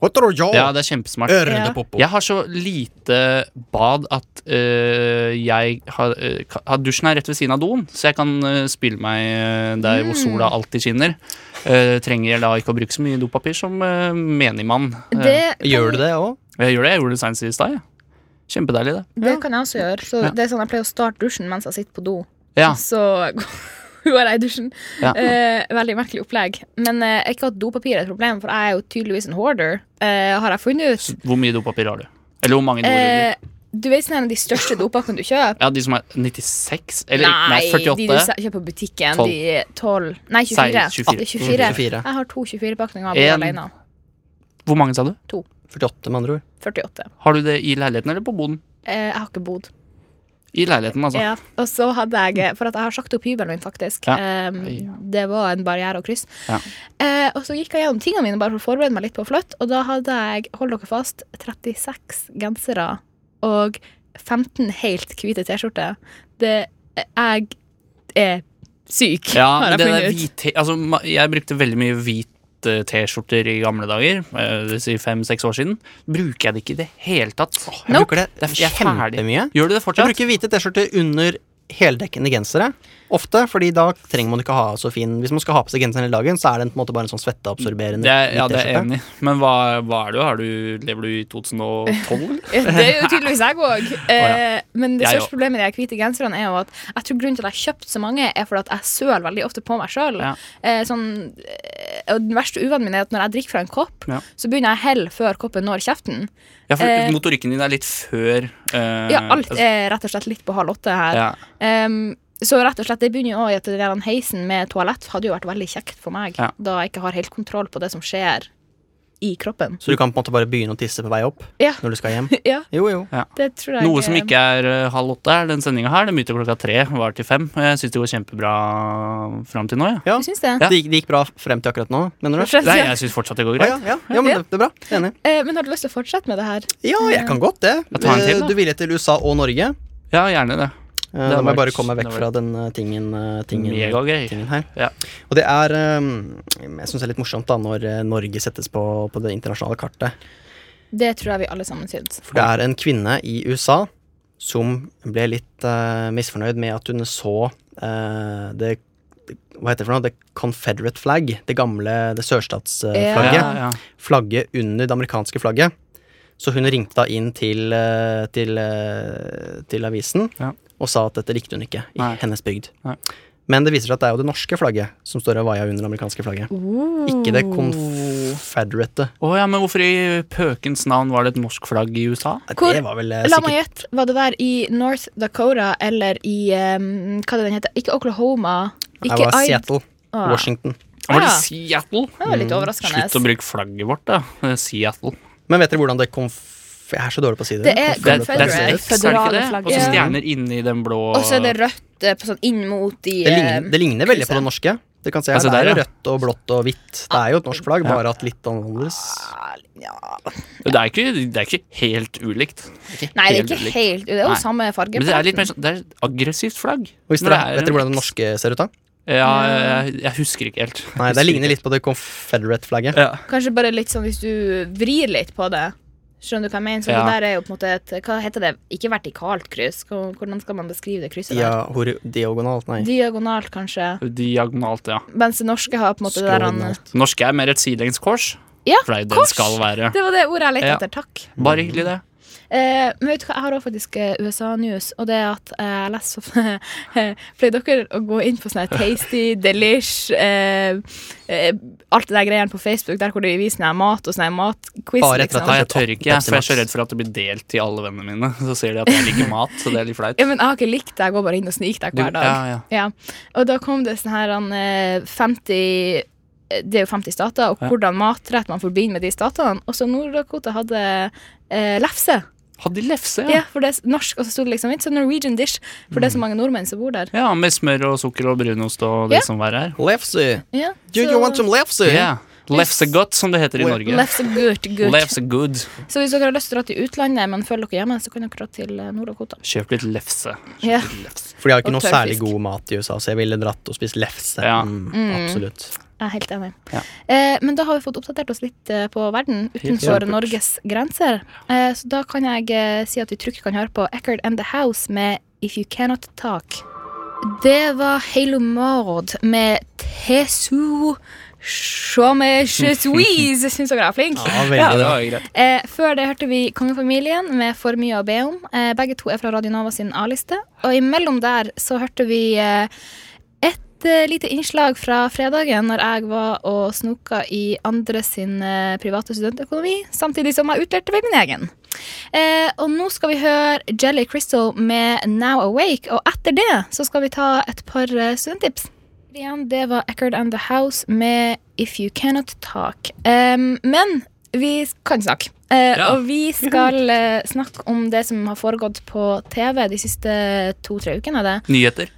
Hva tror du? Ja, det er kjempesmart. Ja. Ørnepoppo. Jeg har så lite bad at øh, jeg har, øh, ka- har Dusjen er rett ved siden av doen, så jeg kan øh, spyle meg øh, der Mm. hvor sola alltid skinner. Øh, trenger jeg da ikke å bruke så mye dopapir som øh, menigmann. Øh, Det kan- Gjør du det òg? jeg gjør det. Jeg gjorde det senest i stad. jeg. Kjempedeilig, det. Det kan jeg også gjøre. Så Ja. det er sånn Jeg pleier å starte dusjen mens jeg sitter på do. Ja, Så går jeg i dusjen. ja. Eh, veldig merkelig opplegg. Men eh, ikke at dopapir er et problem, for jeg er jo tydeligvis en hoarder, eh, har jeg funnet ut. Så Hvor mye dopapir har du? Eller hvor mange doruller? Eh, du vet sånn en av de største dopakkene du kjøper? Ja, de som er 96? Eller nei, 48? de du se- kjøper på butikken. 12. De 12 Nei, 24. Sei- 24. Ah, 24. Mm, 24. Jeg har to 24-pakninger En. alene. Hvor mange sa du? 48, med andre ord. 48. Har du det i leiligheten eller på boden? Eh, jeg har ikke bodd. I leiligheten, altså. Ja, og så hadde jeg For at jeg har sagt opp hybelen min, faktisk. Ja. Ehm, Oi. det var en barriere å krysse. Ja. Eh, og så gikk jeg gjennom tingene mine bare for å forberede meg litt på å flytte, og da hadde jeg, hold dere fast, 36 gensere og 15 helt hvite T-skjorter. Det Jeg er syk, Ja, har men jeg det der funnet ut. hvit te- altså, ma- jeg brukte veldig mye hvit eh, T-skjorter i gamle dager, eh, det vil si fem-seks år siden. Bruker jeg det ikke i det hele tatt. Jeg Nope. bruker det Det er- jeg er ferdig. kjempemye. Gjør du Jeg det fortsatt? bruker hvite T-skjorter under heldekkende gensere. Ofte, fordi da trenger man ikke ha så fin Hvis man skal ha på seg genseren hele dagen, så er den på en måte bare en sånn svetteabsorberende det er, ja, hvit det er jeg T-skjorte. enig. i. Men hva, hva er du? Har du? Lever du i 2012? eller? Det er jo tydeligvis jeg òg. Eh, men det Jeg største også. problemet med de her hvite genserne er jo at jeg tror grunnen til at jeg har kjøpt så mange, er fordi at jeg søler veldig ofte på meg sjøl. Ja. Eh, sånn, eh, og den verste uvanen min er at når jeg drikker fra en kopp, Ja. så begynner jeg å helle før koppen når kjeften. Ja, for Eh, motorikken din er litt før eh, Ja, alt altså- er rett og slett litt på halv åtte her. ja. Em, så rett og slett, det begynner jo også i at den der heisen med toalett hadde jo vært veldig kjekt for meg, Ja. da jeg ikke har helt kontroll på det som skjer i kroppen. Så du kan på en måte bare begynne å tisse på vei opp Ja. når du skal hjem? Ja, Jo, jo. det tror jeg Noe som ikke er eh, halv åtte, er den sendinga her. Den begynte klokka tre, var til fem. Og jeg syns det går kjempebra fram til nå, jeg. eh, Du syns det? Ja. Det, gikk, det gikk bra frem til akkurat nå, mener du? Fortsett. Nei, jeg syns fortsatt det Å, går greit. ja, ja, ja, men det, det er bra. Enig. Eh, men har du lyst til å fortsette med det her? Ja, jeg kan godt det. Eh, Jeg tar en til, da. du ville til USA og Norge. Ja, gjerne det. Eh, Da må vært- jeg bare komme meg det vekk har fra den eh, tingen, eh, tingen, Megagøy. tingen her. Ja. Og det er eh, Jeg syns det er litt morsomt da når eh, Norge settes på, på det internasjonale kartet. Det tror jeg vi alle sammen syns. For det er en kvinne i USA som ble litt eh, misfornøyd med at hun så eh, det Hva heter det for noe? The Confederate flag. Det gamle det Ja, sørstatsflagget. ja. Flagget under det amerikanske flagget. Så hun ringte da inn til, eh, til, eh, til avisen Ja. og sa at dette likte hun ikke i Nei. hennes bygd. Nei. Men det viser seg at det er jo det norske flagget som står og vaier under det amerikanske flagget. Ikke det confederate. Å ja, men hvorfor i pøkens navn var det et norsk flagg i USA? Hvor- det var vel La eh, sikkert meg gjette. Var det der i North Dakota eller i um, Hva er det den heter? Ikke Oklahoma. Ikke Det Id- Ah. var Seattle, Å, Washington. Var det Ja. Seattle? Det var litt overraskende. Mm, Slutt å bruke flagget vårt, da. Det er Seattle. Men vet dere hvordan det konf... Jeg er så dårlig på å si det. Det er Det, Confederate. Confederate. er- det er X, er det ikke det? Føderale flagg. Og så Ja. stjerner inni den blå Og så er det rødt eh, på sånn inn mot de Det ligner, eh, det ligner veldig på det krysset. norske. Du kan se her, Altså, Det er jo der, ja. rødt og blått og hvitt. Det er jo et norsk flagg, bare at litt annerledes. Ah. Det er ikke, det er ikke helt ulikt. Nei, det er helt ikke ulikt. helt Det er jo Nei. samme farge. på Men det er litt den. mer sånn Det er et aggressivt flagg. Og hvis Når dere, det er vet en dere hvordan det X. norske ser ut, da? Ja, jeg, jeg husker ikke helt. Nei, Det ligner litt på det Confederate-flagget. Ja. Kanskje bare litt sånn hvis du vrir litt på det. Skjønner du hva jeg mener? Så Ja. det der er jo på en måte et Hva heter det? Ikke vertikalt kryss. Hva- Hvordan skal man beskrive det krysset Ja, der? hori- diagonalt, nei. Diagonalt, kanskje. Diagonalt, ja. Mens det norske har på en måte det der han Skrånalt. Norske er mer et sidelengs kors. Ja, For det er jo det kors. det skal være. Det var det ordet jeg lette Ja. etter. Takk. Bare hyggelig, det. Eh, men vet du hva, jeg har også faktisk eh, USA-news, og det er at eh, jeg leser så Pleier dere å gå inn på sånne her tasty, delish eh, eh, Alt det der greiene på Facebook der hvor de viser sånn her mat og sånn her matquiz. Bare etter liksom. at Nei, jeg jeg tør ikke, jeg, for jeg er Pepsi så Max. redd for at det blir delt til alle vennene mine. Så ser de at jeg liker mat, så det er litt flaut. Ja, men jeg har ikke likt det. Jeg går bare inn og sniker deg Du- hver dag. ja, ja. Ja, og da kom det sånn her han, eh, 50 eh, Det er jo 50 stater, og Ja. hvordan matrett man forbinder med de statene. Og så Nord-Dakota hadde eh, lefse. Hadde de lefse, Ja. ja. for det er s- norsk, og så sto det liksom It's a Norwegian dish, for det er så mange nordmenn som bor der. ja. Med smør og sukker og brunost og det Ja. som verre er. Lefse. Ja, Do så- you want some lefse? Ja. Lefsegodt, som det heter i Norge. Lefse good, good. Lefsegood. Så hvis dere har lyst til å dra til utlandet, men føler dere hjemme, så kan dere dra til eh, Nord-Dakota. Kjøp litt lefse. Ja. For de har ikke Og noe tørrfisk. særlig god mat i USA, så jeg ville dratt og spist lefse. Ja. Mm, absolutt. Jeg er helt enig. Ja. Eh, men da har vi fått oppdatert oss litt eh, på verden utenfor supert. Norges grenser. Eh, så da kan jeg eh, si at vi trygt kan høre på Eckerd and The House med If You Cannot Talk. Det var Halo Maud med Tesu Chame Chesuise. Syns dere jeg er flink? Ja, veldig Ja, det bra. var jo greit. Eh, før det hørte vi Kongefamilien med For mye å be om. Eh, begge to er fra Radio Nova sin A-liste. Og imellom der så hørte vi eh, et eh, lite innslag fra fredagen når jeg var og snoka i andre sin eh, private studentøkonomi, samtidig som jeg utlærte meg min egen. Eh, og nå skal vi høre Jelly Crystal med Now Awake, og etter det så skal vi ta et par eh, studenttips. Igjen, det var Eckerd and The House med If You Cannot Talk. Em, men vi kan snakke. Eh, Ja. Og vi skal eh, snakke om det som har foregått på TV de siste to-tre ukene. Det. Nyheter.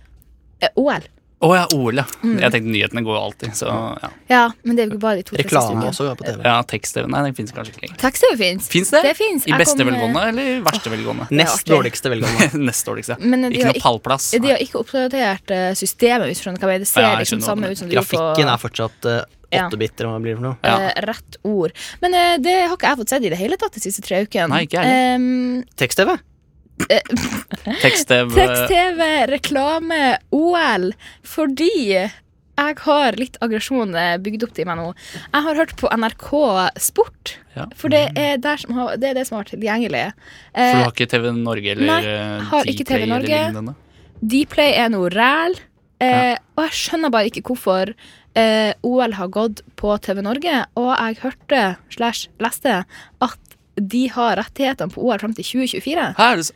Eh, OL. Å ja, OL, ja. Mm. Jeg tenkte nyhetene går jo alltid, så ja. Ja, men det er jo ikke bare de to-tre siste Reklame ukene. sånn. også ja, på TV. ja Tekst-TV, nei, den fins kanskje ikke lenger. Taxi fins. Fins det? Det fins. I Jeg beste kom, eh, velgående eller verste velgående? Nest det er artig. dårligste velgående. Nest dårligste. Men de Ikke har noe pallplass. De har ikke oppdatert eh, systemet. hvis du skjønner hva jeg mener. Det ser Ja, jeg liksom skjønner hva du samme mener. ut som det Grafikken gjorde er fortsatt eh, Ja. åttebiter, hva blir det for noe? på Ja. eh, rett ord. Men eh, det har ikke jeg fått sett i det hele tatt de siste tre ukene. Ehm, Nei, ikke jeg Em, Tekst-TV? Tekst-TV Tekst-TV, reklame, OL. Fordi jeg har litt aggresjon eh, bygd opp i meg nå. Jeg har hørt på NRK Sport, Ja. Mm. for det er, der som har, det er det som har vært tilgjengelig. For du Eh, har ikke TV Norge eller Nei, eh, har ikke Dplay TV eller Norge. lignende? Dplay er noe ræl, eh, og jeg skjønner bare ikke hvorfor eh, OL har gått på TV Norge. Og jeg hørte slash leste at de har rettighetene på OL fram til 2024. Hæ, er det så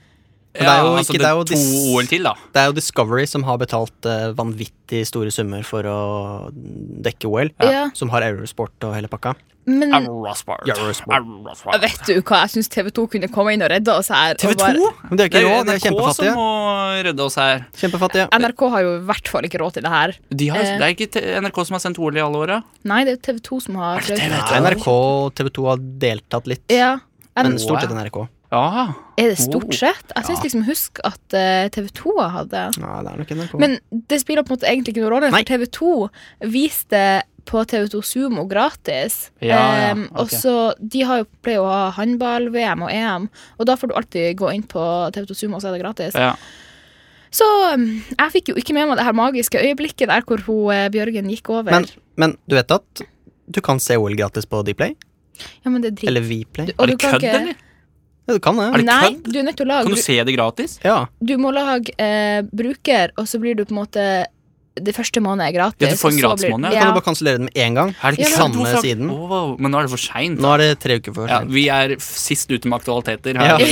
Men det er jo Ja, altså, ikke- det er jo to dis- OL til, da. Det er jo Discovery som har betalt eh, vanvittig store summer for å dekke OL. Ja. Som har Eurosport og hele pakka. Men Eurosport. Eurosport. Eurosport. vet du hva, jeg syns TV 2 kunne komme inn og redde oss her. og bare- Men det er Det ikke er jo råd, de er NRK som kjempefattige. må redde oss her. Kjempefattige. NRK har jo i hvert fall ikke råd til det her. De har, Eh. Det er ikke te- NRK som har sendt OL i alle åra. Nei, det er jo TV 2 som har det TV 2? Nei, NRK og TV 2 har deltatt litt, Ja. Er, men det- stort sett NRK. Ja. er det stort sett? Jeg syns Ja. liksom husk at eh, TV 2 hadde Nei, det er nok NRK. Men det spiller på en måte egentlig ikke noen rolle, for Nei. TV 2 viste på TV2 Sumo gratis. Ja, ja, Ehm, ok. Og så De har jo pleier å ha håndball-VM og EM, og da får du alltid gå inn på TV2 Sumo, og så er det gratis. ja. Så mm, jeg fikk jo ikke med meg det her magiske øyeblikket der hvor hun, eh, Bjørgen gikk over. men, men du vet at du kan se OL gratis på Dplay? ja, men det er drit. Eller og Vplay? Er du det kan kødd, ikke- eller? Ja, du kan det. Er det Nei, kødd? du er nødt til å lage Kan du se det gratis? Ja. du må lage eh, bruker, og så blir du på en måte Det første måned er gratis. Ja, du får en og så gratis blir- måned, Da ja. kan du bare kansellere den med én gang. Er det ikke Ja, men- sant? Samme siden. Wow, men nå er det for seint. Nå er det tre uker for Ja, sent. vi er f- sist ute med aktualiteter her. Ja. på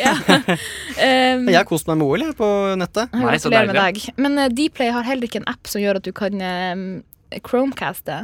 ja. Ehm, Jeg har kost meg med OL jeg, på nettet. jeg Nei, så Gratulerer med deg. Men eh, Dplay har heller ikke en app som gjør at du kan eh, Chromecaste.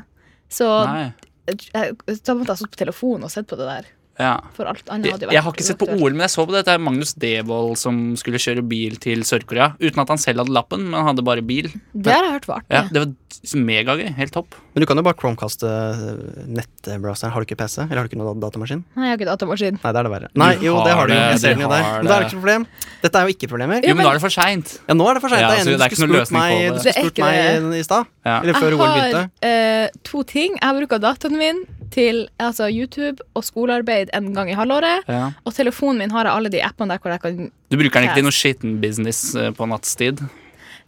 Så Nei. eh, da måtte jeg ha stått på telefonen og sett på det der. Ja. For alt annet hadde jo vært Jeg har ikke sett på uaktuelt. OL, men jeg så på dette er Magnus Devold som skulle kjøre bil til Sør-Korea. Uten at han selv hadde lappen, men han hadde bare bil. Det har jeg hørt var Ja, artig. det var megagøy. Helt topp. Men du kan jo bare Chromecaste eh, nettbrowseren. Har du ikke PC? Eller har du ikke noen datamaskin? Nei, jeg har ikke datamaskin. Nei, det er det verre. Nei, jo, det har du jo. har Jeg det, ser den jo du der. har Men det er jo det. ikke noe problem. Dette er jo ikke problemer. Jo, men nå er det for seint. Ja, nå er det for seint. Ja, Jeg er så enig. det du er ikke noe skulle spurt løsning på meg, det. du Det skulle er spurt ikke det. meg i stad. Ja. Eller før Jeg OL har begynte. eh, to ting. Jeg bruker dataen min til altså YouTube og skolearbeid en gang i halvåret. Ja. Og telefonen min har jeg alle de appene der hvor jeg kan Du bruker den ikke til noe skitten business eh, på nattstid.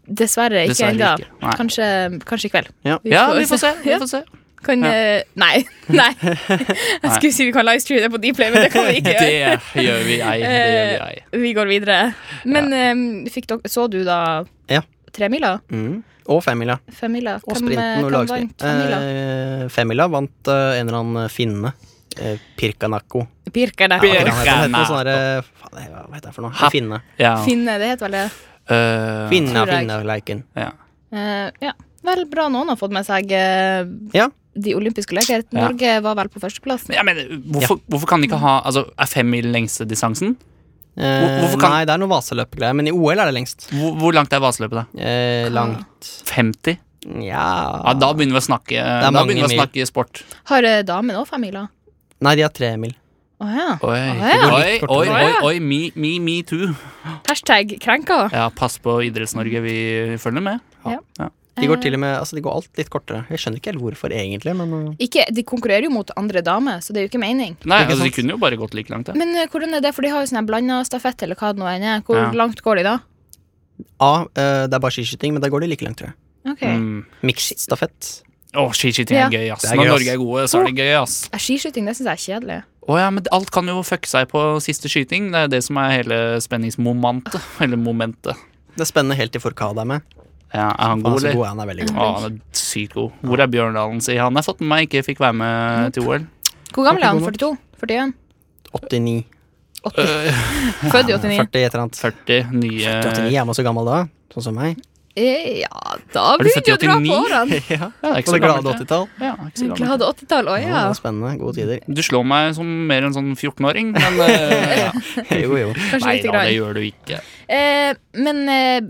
Dessverre ikke Dessverre ennå. ikke. Nei. Kanskje, kanskje i kveld. Ja. Ja, vi får se. Vi Ja. får se. Kan, Ja. eh, nei. nei. Jeg skulle si vi kan livestreame det på Dplay, men det kan vi ikke gjøre. Eh, Det gjør vi Eh, ei. Det gjør vi ei. Vi går videre. Men eh, fikk dere, så du da Ja. tremila? Mm. Og femmila. Femmila? Og sprinten og eh, vant lagsprint. femmila? Eh, femmila vant eh, en eller annen finne. Eh, Pirkanakko. Birka, det. Hva heter Birka. det? Noe sånn derre- faen, jeg- Hva heter det for noe? En finne. Ja. Finne, det heter vel det. Eh, Finne, Tror jeg. finne, leiken. ja. Eh, ja. Vel, bra noen har fått med seg eh, Ja. de olympiske leker. Ja. Norge var vel på førsteplass. Men jeg mener, hvorfor, hvorfor kan de ikke ha altså, Er femmil lengste distansen? Hvor- Eh, hvorfor kan- Nei, det er noe vaseløpgreier, men i OL er det lengst. Hvor, hvor langt er vaseløpet, da? Eh, langt 50? Ja, Nja da begynner vi å snakke eh, Da mange begynner vi å mil. snakke sport. Har eh, damene òg femmila? Nei, de har tre mil. Å ja. Oi, Å, ja. oi, Det går litt oi, kortere. oi, oi me, me, me too. Hashtag krenka. Ja, pass på Idretts-Norge, vi følger med. Ja. De går til og med, altså de går alt litt kortere. Jeg skjønner ikke helt hvorfor egentlig, men øh, Ikke, de konkurrerer jo mot andre damer, så det er jo ikke mening. Nei, Ikke altså, de sant? kunne jo bare gått like langt. Ja. Men eh, hvordan er det, for de har jo sånn blanda stafett eller hva det nå enn er. Hvor Ja. langt går de da? A, øh, det er bare skiskyting, men der går de like langt, tror jeg. Ok. Mm. Mixed stafett. Å, skiskyting er Ja. gøy, ass. Det er Når gøy, ass. Norge er gode, så er det gøy, ass. Ja, Skiskyting, det syns jeg er kjedelig. Å ja, men alt kan jo fucke seg på siste skyting. Det er det som er hele spenningsmomentet. Eller momentet. Det er spennende helt til Forkad er med. Ja, er han Han god, er så eller? god, han er veldig god. Å, han er sykt god. Hvor er Bjørndalen, sier han. Jeg har fått med meg ikke fikk være med til OL. Hvor gammel er han? Ikke god 42? 41? 89. Født i 89? 40 et eller annet. 40 nye 89 er man så gammel da, sånn som meg. Eh, Ja, da Er du begynner født i du å dra 89? på årene. Ja, Ja, det er ikke På så det glade gammelt. det. 80-tall. Ja, det er ikke så gammelt. Glade 80-tall, å Ja, ja. det var spennende. Gode tider. Du slår meg som mer en sånn 14-åring, men eh, ja. Jo, jo. Kanskje Nei lite da, det grann. gjør du ikke. Eh, men eh,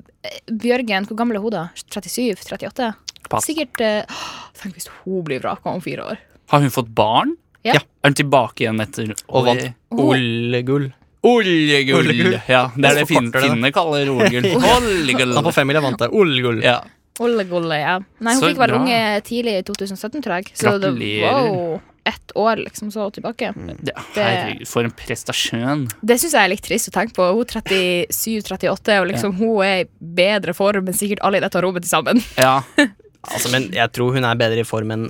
Bjørgen, hvor gammel er hun da? 37? 38? Pass. Sikkert eh, Tenk hvis hun blir vraka om fire år. Har hun fått barn? Ja. Er hun tilbake igjen etter Og vant OL-gull. Oljegull! Oljegull. Ja, det er det Så forkorter fin- det det. finnene kaller oljegull. Oljegull. Han på femmila vant det. OL-gull. Ja. Olle golle, ja. Nei, hun Så fikk være bra. unge tidlig i 2017, tror jeg. Så det Gratulerer. wow, ett år liksom så tilbake. Det, herregud, for en prestasjon. Det syns jeg er litt trist å tenke på. Hun 37-38, og liksom hun er i bedre form enn sikkert alle i dette rommet til sammen. Ja. Altså, men jeg tror hun er bedre i form enn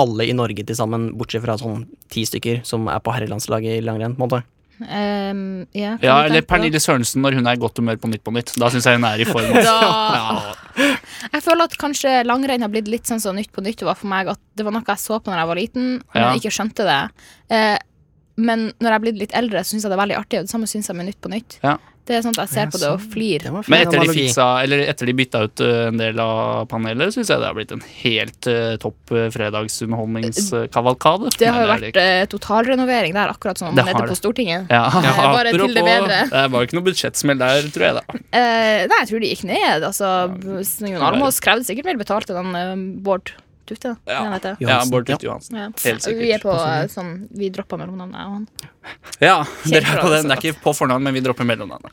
alle i Norge til sammen, bortsett fra sånn ti stykker som er på herrelandslaget i langrenn. på en måte. Ehm, ja, kan du ja, eller tenke på det? Pernille Sørensen når hun er i godt humør på Nytt på Nytt. Da syns jeg hun er i form. Da- Ja. Jeg føler at kanskje langrenn har blitt litt sånn som Nytt på nytt var for meg. At det var noe jeg så på når jeg var liten, men Ja. ikke skjønte det. Eh, men når jeg er blitt litt eldre, syns jeg det er veldig artig. Og det samme syns jeg med Nytt på nytt. Ja. Det er sånn at jeg ser på det og flir. Det var Men fin etter de, analogi. fiksa, eller etter de bytta ut ø, en del av panelet, syns jeg det har blitt en helt ø, topp ø, fredagsunderholdningskavalkade. Det har jo Nei, er vært det ikke. eh, totalrenovering der, akkurat som man Det er har nede på det. Stortinget. ja, bare til det apropos, bedre. Det var jo ikke noe budsjettsmell der, tror jeg. da Eh, nei, jeg tror de gikk ned. Altså, Jon Almaas krevde sikkert mer betalt enn han, eh, Bård Tufte. Ja. men jeg vet det. Ja, Johansen, Bård ja. Tufte Johansen. Ja. Helt sikkert. Vi er på eh, sånn Vi droppa mellomnavnet, jeg og han. Ja, dere er på bra, den. Det er ikke på fornavn, men vi dropper mellomnavn.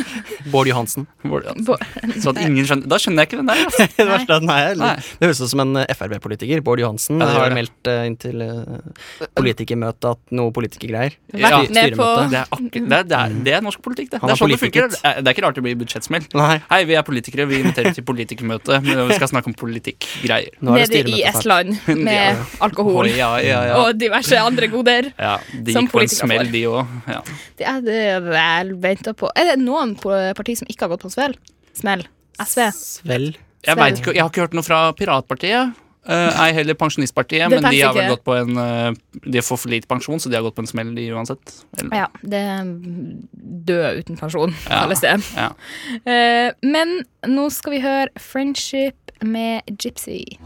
Bård Johansen. Bård Johansen. Bård- Så at ingen skjønner Da skjønner jeg ikke den der. Altså. Det verste er at den er Nei. litt- Det høres ut som en eh, Frp-politiker. Bård Johansen Ja, det gjør har det. meldt eh, inn til eh, politikermøtet at noe politikergreier. Ja. Vært med på Det, er akkurat, det, er, det, er, det er norsk politikk, det. Han Det er er sånn det funker. politiket. Det er det er ikke rart det blir budsjettsmell. Nei, Hei, vi er politikere, vi inviterer til politikermøte. Men vi skal snakke om politikk-greier. nå nede i er det styremøte snart. Estland med Ja. alkohol Oi, ja, ja, ja. og diverse andre goder. ja, de Som gikk på en politikere smell, får. de òg. Ja. Det er det vel venta på. Er det noen på partier som ikke har gått på en smell? Smell. SV. Svel. Jeg, vet ikke, jeg har ikke hørt noe fra Piratpartiet. eh, ei heller Pensjonistpartiet, Det men de har passer vel ikke. gått på en eh, De får for lite pensjon, så de har gått på en smell, de uansett. Eller- Ja, det er død uten pensjon, Ja. kalles det. Ja. Eh, Men nå skal vi høre 'Friendship' med Gypsy.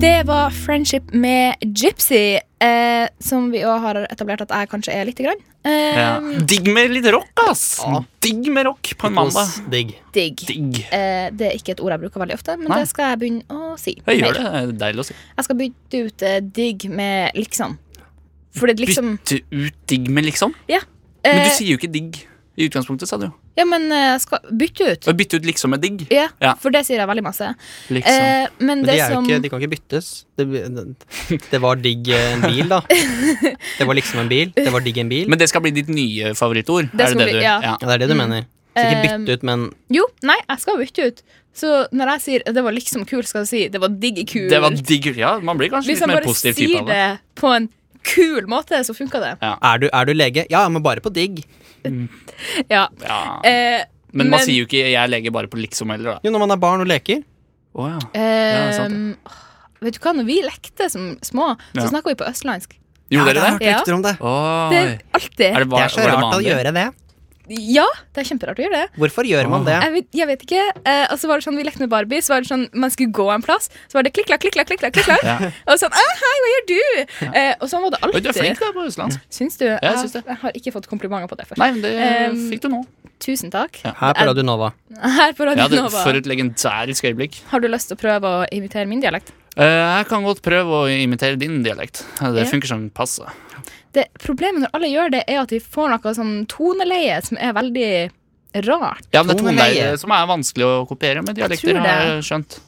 Det var 'Friendship' med Gypsy, eh, som vi òg har etablert at jeg kanskje er lite grann. Eh, Ja. Digg med litt rock, ass! Digg med rock på en mandag. Hos Digg. Digg. Digg. Eh, det er ikke et ord jeg bruker veldig ofte, men Nei. det skal jeg begynne å si. Jeg mer. gjør det. det er Deilig å si. Jeg skal bytte ut eh, digg med liksom. For det er liksom Bytte ut digg med liksom. Men du eh, sier jo ikke digg i utgangspunktet, sa du jo. Ja, men eh, jeg skal bytte ut. Å bytte ut liksom med digg. Ja, Ja. for det sier jeg veldig masse. Liksom. Eh, men Men det de, er jo som ikke, de kan ikke byttes. Det, det var digg eh, en bil, da. Det var liksom en bil. Det var digg en bil. Men det skal bli ditt nye favorittord? Det er skal det det bli- du ja. Ja, det er det du mener. Så ikke Um, bytte ut, men Jo, nei, jeg skal bytte ut. Så når jeg sier 'det var liksom kul', skal jeg si 'det var digg kul'. Det var digg. Ja, man blir kanskje Hvis litt jeg mer bare positiv type sier av det. det på en kul måte, så funker det. er du, er du lege? Ja, men bare på digg. Ja. Ja. Eh, Men man men- sier jo ikke 'jeg er lege' bare på liksom heller, da. Jo, når man er barn og leker. Å, ja. eh, det er sant, vet du hva, når vi lekte som små, så Ja. snakka vi på østlandsk. Gjorde dere Ja, det? jeg har hørt rykter om det. Oi. Det er alltid. Er det, Det var, er så var det rart å vanlig? gjøre det. Ja, det er kjemperart å gjøre det. Hvorfor gjør man det? Jeg vet, jeg vet ikke. Eh, og så var det sånn, Vi lekte med Barbie. Så var det sånn, Man skulle gå en plass. Så var det klikk, klakk, klikk, klakk. klikk, klakk, klikk, klakk. Ja. Og sånn «Å, Hei, hva gjør du? Eh, og sånn var det Oi, du er flink alltid. da på østlandsk. Syns du? Jeg, syns det. jeg har ikke fått komplimenter på det først. Nei, men det Um, fikk du nå. Tusen takk. Ja. Her på Radio Nova. Her på Radio Ja, det, Nova. for et legendarisk øyeblikk. Har du lyst til å prøve å imitere min dialekt? Eh, jeg kan godt prøve å imitere din dialekt. Eh, Det Ja. funker som passe. Det, problemet når alle gjør det, er at de får noe sånn toneleie som er veldig rart. Ja, men det er Toneleie. toneleie som er vanskelig å kopiere med Jeg dialekter, tror det. har jeg skjønt.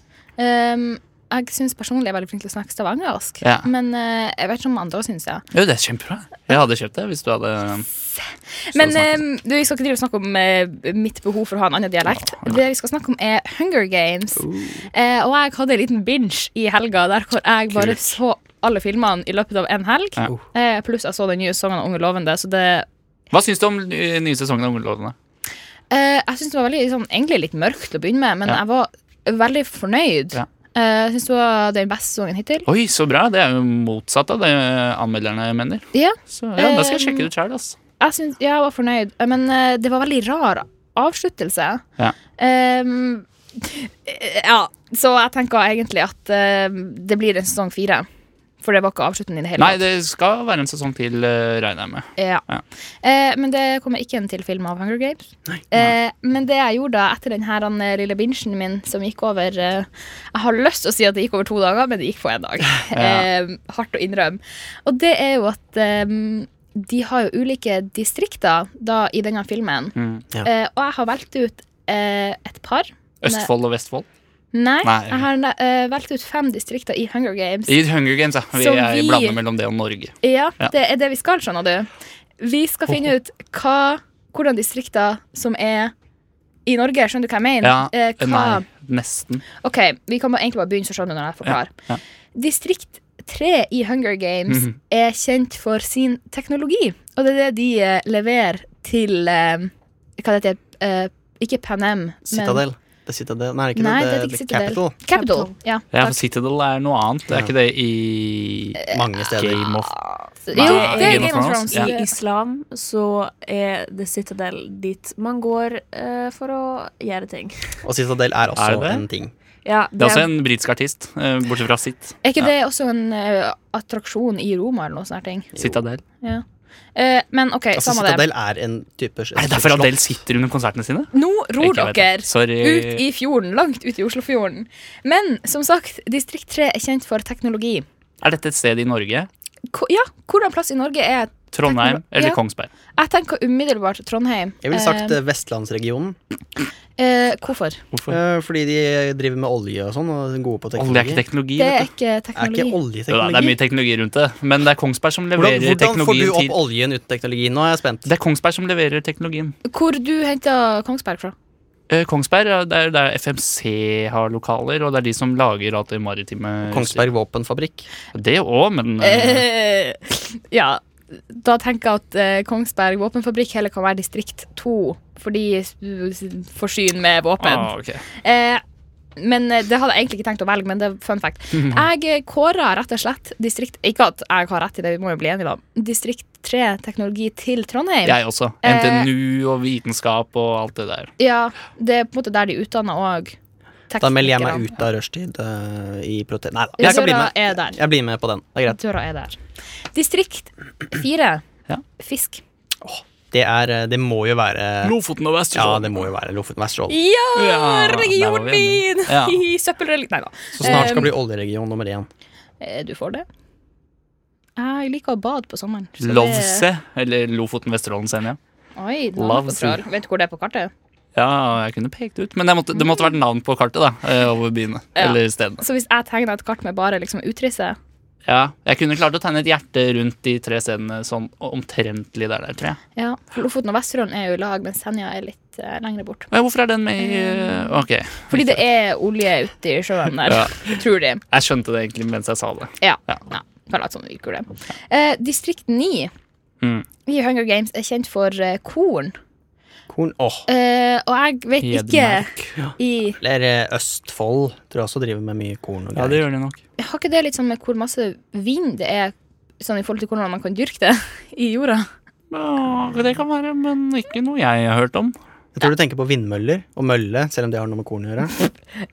Um, jeg syns personlig jeg er veldig flink til å snakke stavangersk, Ja. men eh, jeg vet ikke om andre syns det. Jo, det er kjempebra. Jeg hadde kjøpt det hvis du hadde hvis du Men hadde snakket. eh, du, vi skal ikke drive og snakke om eh, mitt behov for å ha en annen dialekt. Det vi skal snakke om, er Hunger Games. Uh. Eh, og jeg hadde en liten binge i helga der hvor jeg bare Kult. så alle filmene i løpet av en helg. Ja. Eh, pluss jeg så den nye sangen av Unge lovende. Så det, Hva syns du om den nye sesongen av Unglovene? eh, jeg syns det var veldig, sånn, egentlig litt mørkt å begynne med, men Ja. jeg var veldig fornøyd. Ja. Eh, jeg syns det var den beste sesongen hittil. Oi, så bra! Det er jo motsatt av det anmelderne mener. Ja. Så ja, Da skal jeg sjekke det ut sjøl. Jeg, syns- ja, jeg var fornøyd, Eh, men eh, det var veldig rar avsluttelse. Ja. Ehm, eh, ja, så jeg tenker egentlig at eh, det blir en sesong fire. For det var ikke avslutten i det hele Nei, tatt. det skal være en sesong til, eh, regner jeg med. Ja. Ja. Eh, men det kommer ikke en til film av Hunger Games. Eh, men det jeg gjorde da etter den her han, eh, lille bingen min som gikk over eh, Jeg har lyst til å si at det gikk over to dager, men det gikk på én dag. eh, hardt å innrømme. Og det er jo at eh, de har jo ulike distrikter da i denne filmen. Ja. Eh, og jeg har valgt ut eh, et par. Østfold og Vestfold. Nei, Nei. jeg har eh, valgt ut fem distrikter i Hunger Games. I Hunger Games, ja. Vi Som er vi- blander mellom det og Norge. Ja, Ja. det er det vi skal, skjønner du. Vi skal finne ut hva, hvordan distrikter som er i Norge, skjønner du hva jeg mener? Ja, Eh, hva, Nei, nesten. Ok, vi kan bare- egentlig bare begynne, så skjønner du når jeg forklarer. ja. Mhm. Distrikt 3 i Hunger Games Mm. er kjent for sin teknologi, og det er det de eh, leverer til eh, Hva det heter eh, Ikke Panem, men Citadel. Det er Citadel. Nei, ikke Nei, det, det det, er ikke det er Citadel. Capital. Capital. Ja, Ja, takk. for Citadel er noe annet. Det er Ja. ikke det i Mange steder. Game of jo, Nei, det er Game of Thrones. Ja. Ja. I islam så er The Citadel dit man går eh, for å gjøre ting. Og Citadel er også Er det? en ting. Ja, Det er også en britisk artist, eh, bortsett fra sitt. Er ikke det også en eh, attraksjon i Roma eller noe sånt? ting? Citadel. Ja. Eh, men OK, Altså, samme det. Citadel er en type Er det derfor Adele sitter under konsertene sine? Nå ror Ikke vet dere jeg. Sorry. ut i fjorden, langt ut i Oslofjorden. Men som sagt, distrikt 3 er kjent for teknologi. Er dette et sted i Norge? Ko ja, hvordan plass i Norge er Trondheim Teknolo- eller Ja. Kongsberg? Jeg tenker umiddelbart Trondheim. Jeg ville sagt eh, Vestlandsregionen, Eh, eh, hvorfor? eh, fordi de driver med olje og sånn, og er gode på Olje er teknologi. ikke teknologi. Det er Vet du. ikke Er ikke teknologi. Jo da, oljeteknologi? det er mye teknologi rundt det, men det er Kongsberg som leverer hvordan, hvordan får du teknologien opp til oljen uten teknologi? Nå er jeg spent. Det er Kongsberg som leverer teknologien. Hvor du henta Kongsberg fra? Eh, Kongsberg ja, det er der FMC har lokaler, og det er de som lager alt det maritime Kongsberg våpenfabrikk. Det òg, men Eh, eh, ja, da tenker jeg at eh, Kongsberg våpenfabrikk heller kan være distrikt 2, fordi du forsyn med våpen. ah, ok. Eh, men eh, Det hadde jeg egentlig ikke tenkt å velge, men det er fun fact. Jeg eh, kårer rett og slett distrikt Ikke at jeg har rett i det, vi må jo bli enige, da. Distrikt 3 teknologi til Trondheim. Jeg også. Eh, NTNU og vitenskap og alt det der. Ja, Det er på en måte der de utdanner òg. Da melder jeg meg ut av rushtid eh, i protest... Nei da. Jeg kan bli Døra med. er der. Jeg blir med på den. Det er greit. Døra er der. Distrikt 4 Ja. fisk. Det, er, eh, det må jo være Lofoten og Ja, Vesterålen. det må jo være Lofoten Vesterålen. Ja, Ja, der var vi regionen enige. min! Ja. Hihi, Søppelrelig Nei da. Så snart Eh, skal det bli oljeregion nummer én. eh, Du får det. Jeg liker å bade på sommeren. så det- Lovse, eller Lofoten, Vesterålen, Senja. Oi, det var Love noe Sea. rar. Vet du hvor det er på kartet? Ja, jeg kunne pekt ut, men det måtte, det måtte vært navn på kartet, da. eh, Over byene. Ja. Eller stedene. Så hvis jeg tegner et kart med bare liksom utrisset Ja, jeg kunne klart å tegne et hjerte rundt de tre stedene sånn omtrentlig der, der tror jeg. Ja, for Lofoten og Vesterålen er jo i lag, men Senja er litt eh, lengre bort. Men hvorfor er den med i eh, Ok, Fordi det er olje ute i sjøen der, tror de. jeg skjønte det egentlig mens jeg sa det. Ja. Ja. ja. Kan late som det virker det. Eh, distrikt 9 Mm. i Hunger Games er kjent for eh, korn. Korn Åh. Eh, og jeg vet Hedmark. ikke i Eller eh, Østfold tror jeg også driver med mye korn og Ja, det greier. gjør de nok. Har ikke det litt sånn med hvor masse vind det er, sånn i forhold til hvordan man kan dyrke det i jorda? Ja, det kan være, men ikke noe jeg har hørt om. Jeg tror du tenker på vindmøller og mølle, selv om det har noe med korn å gjøre.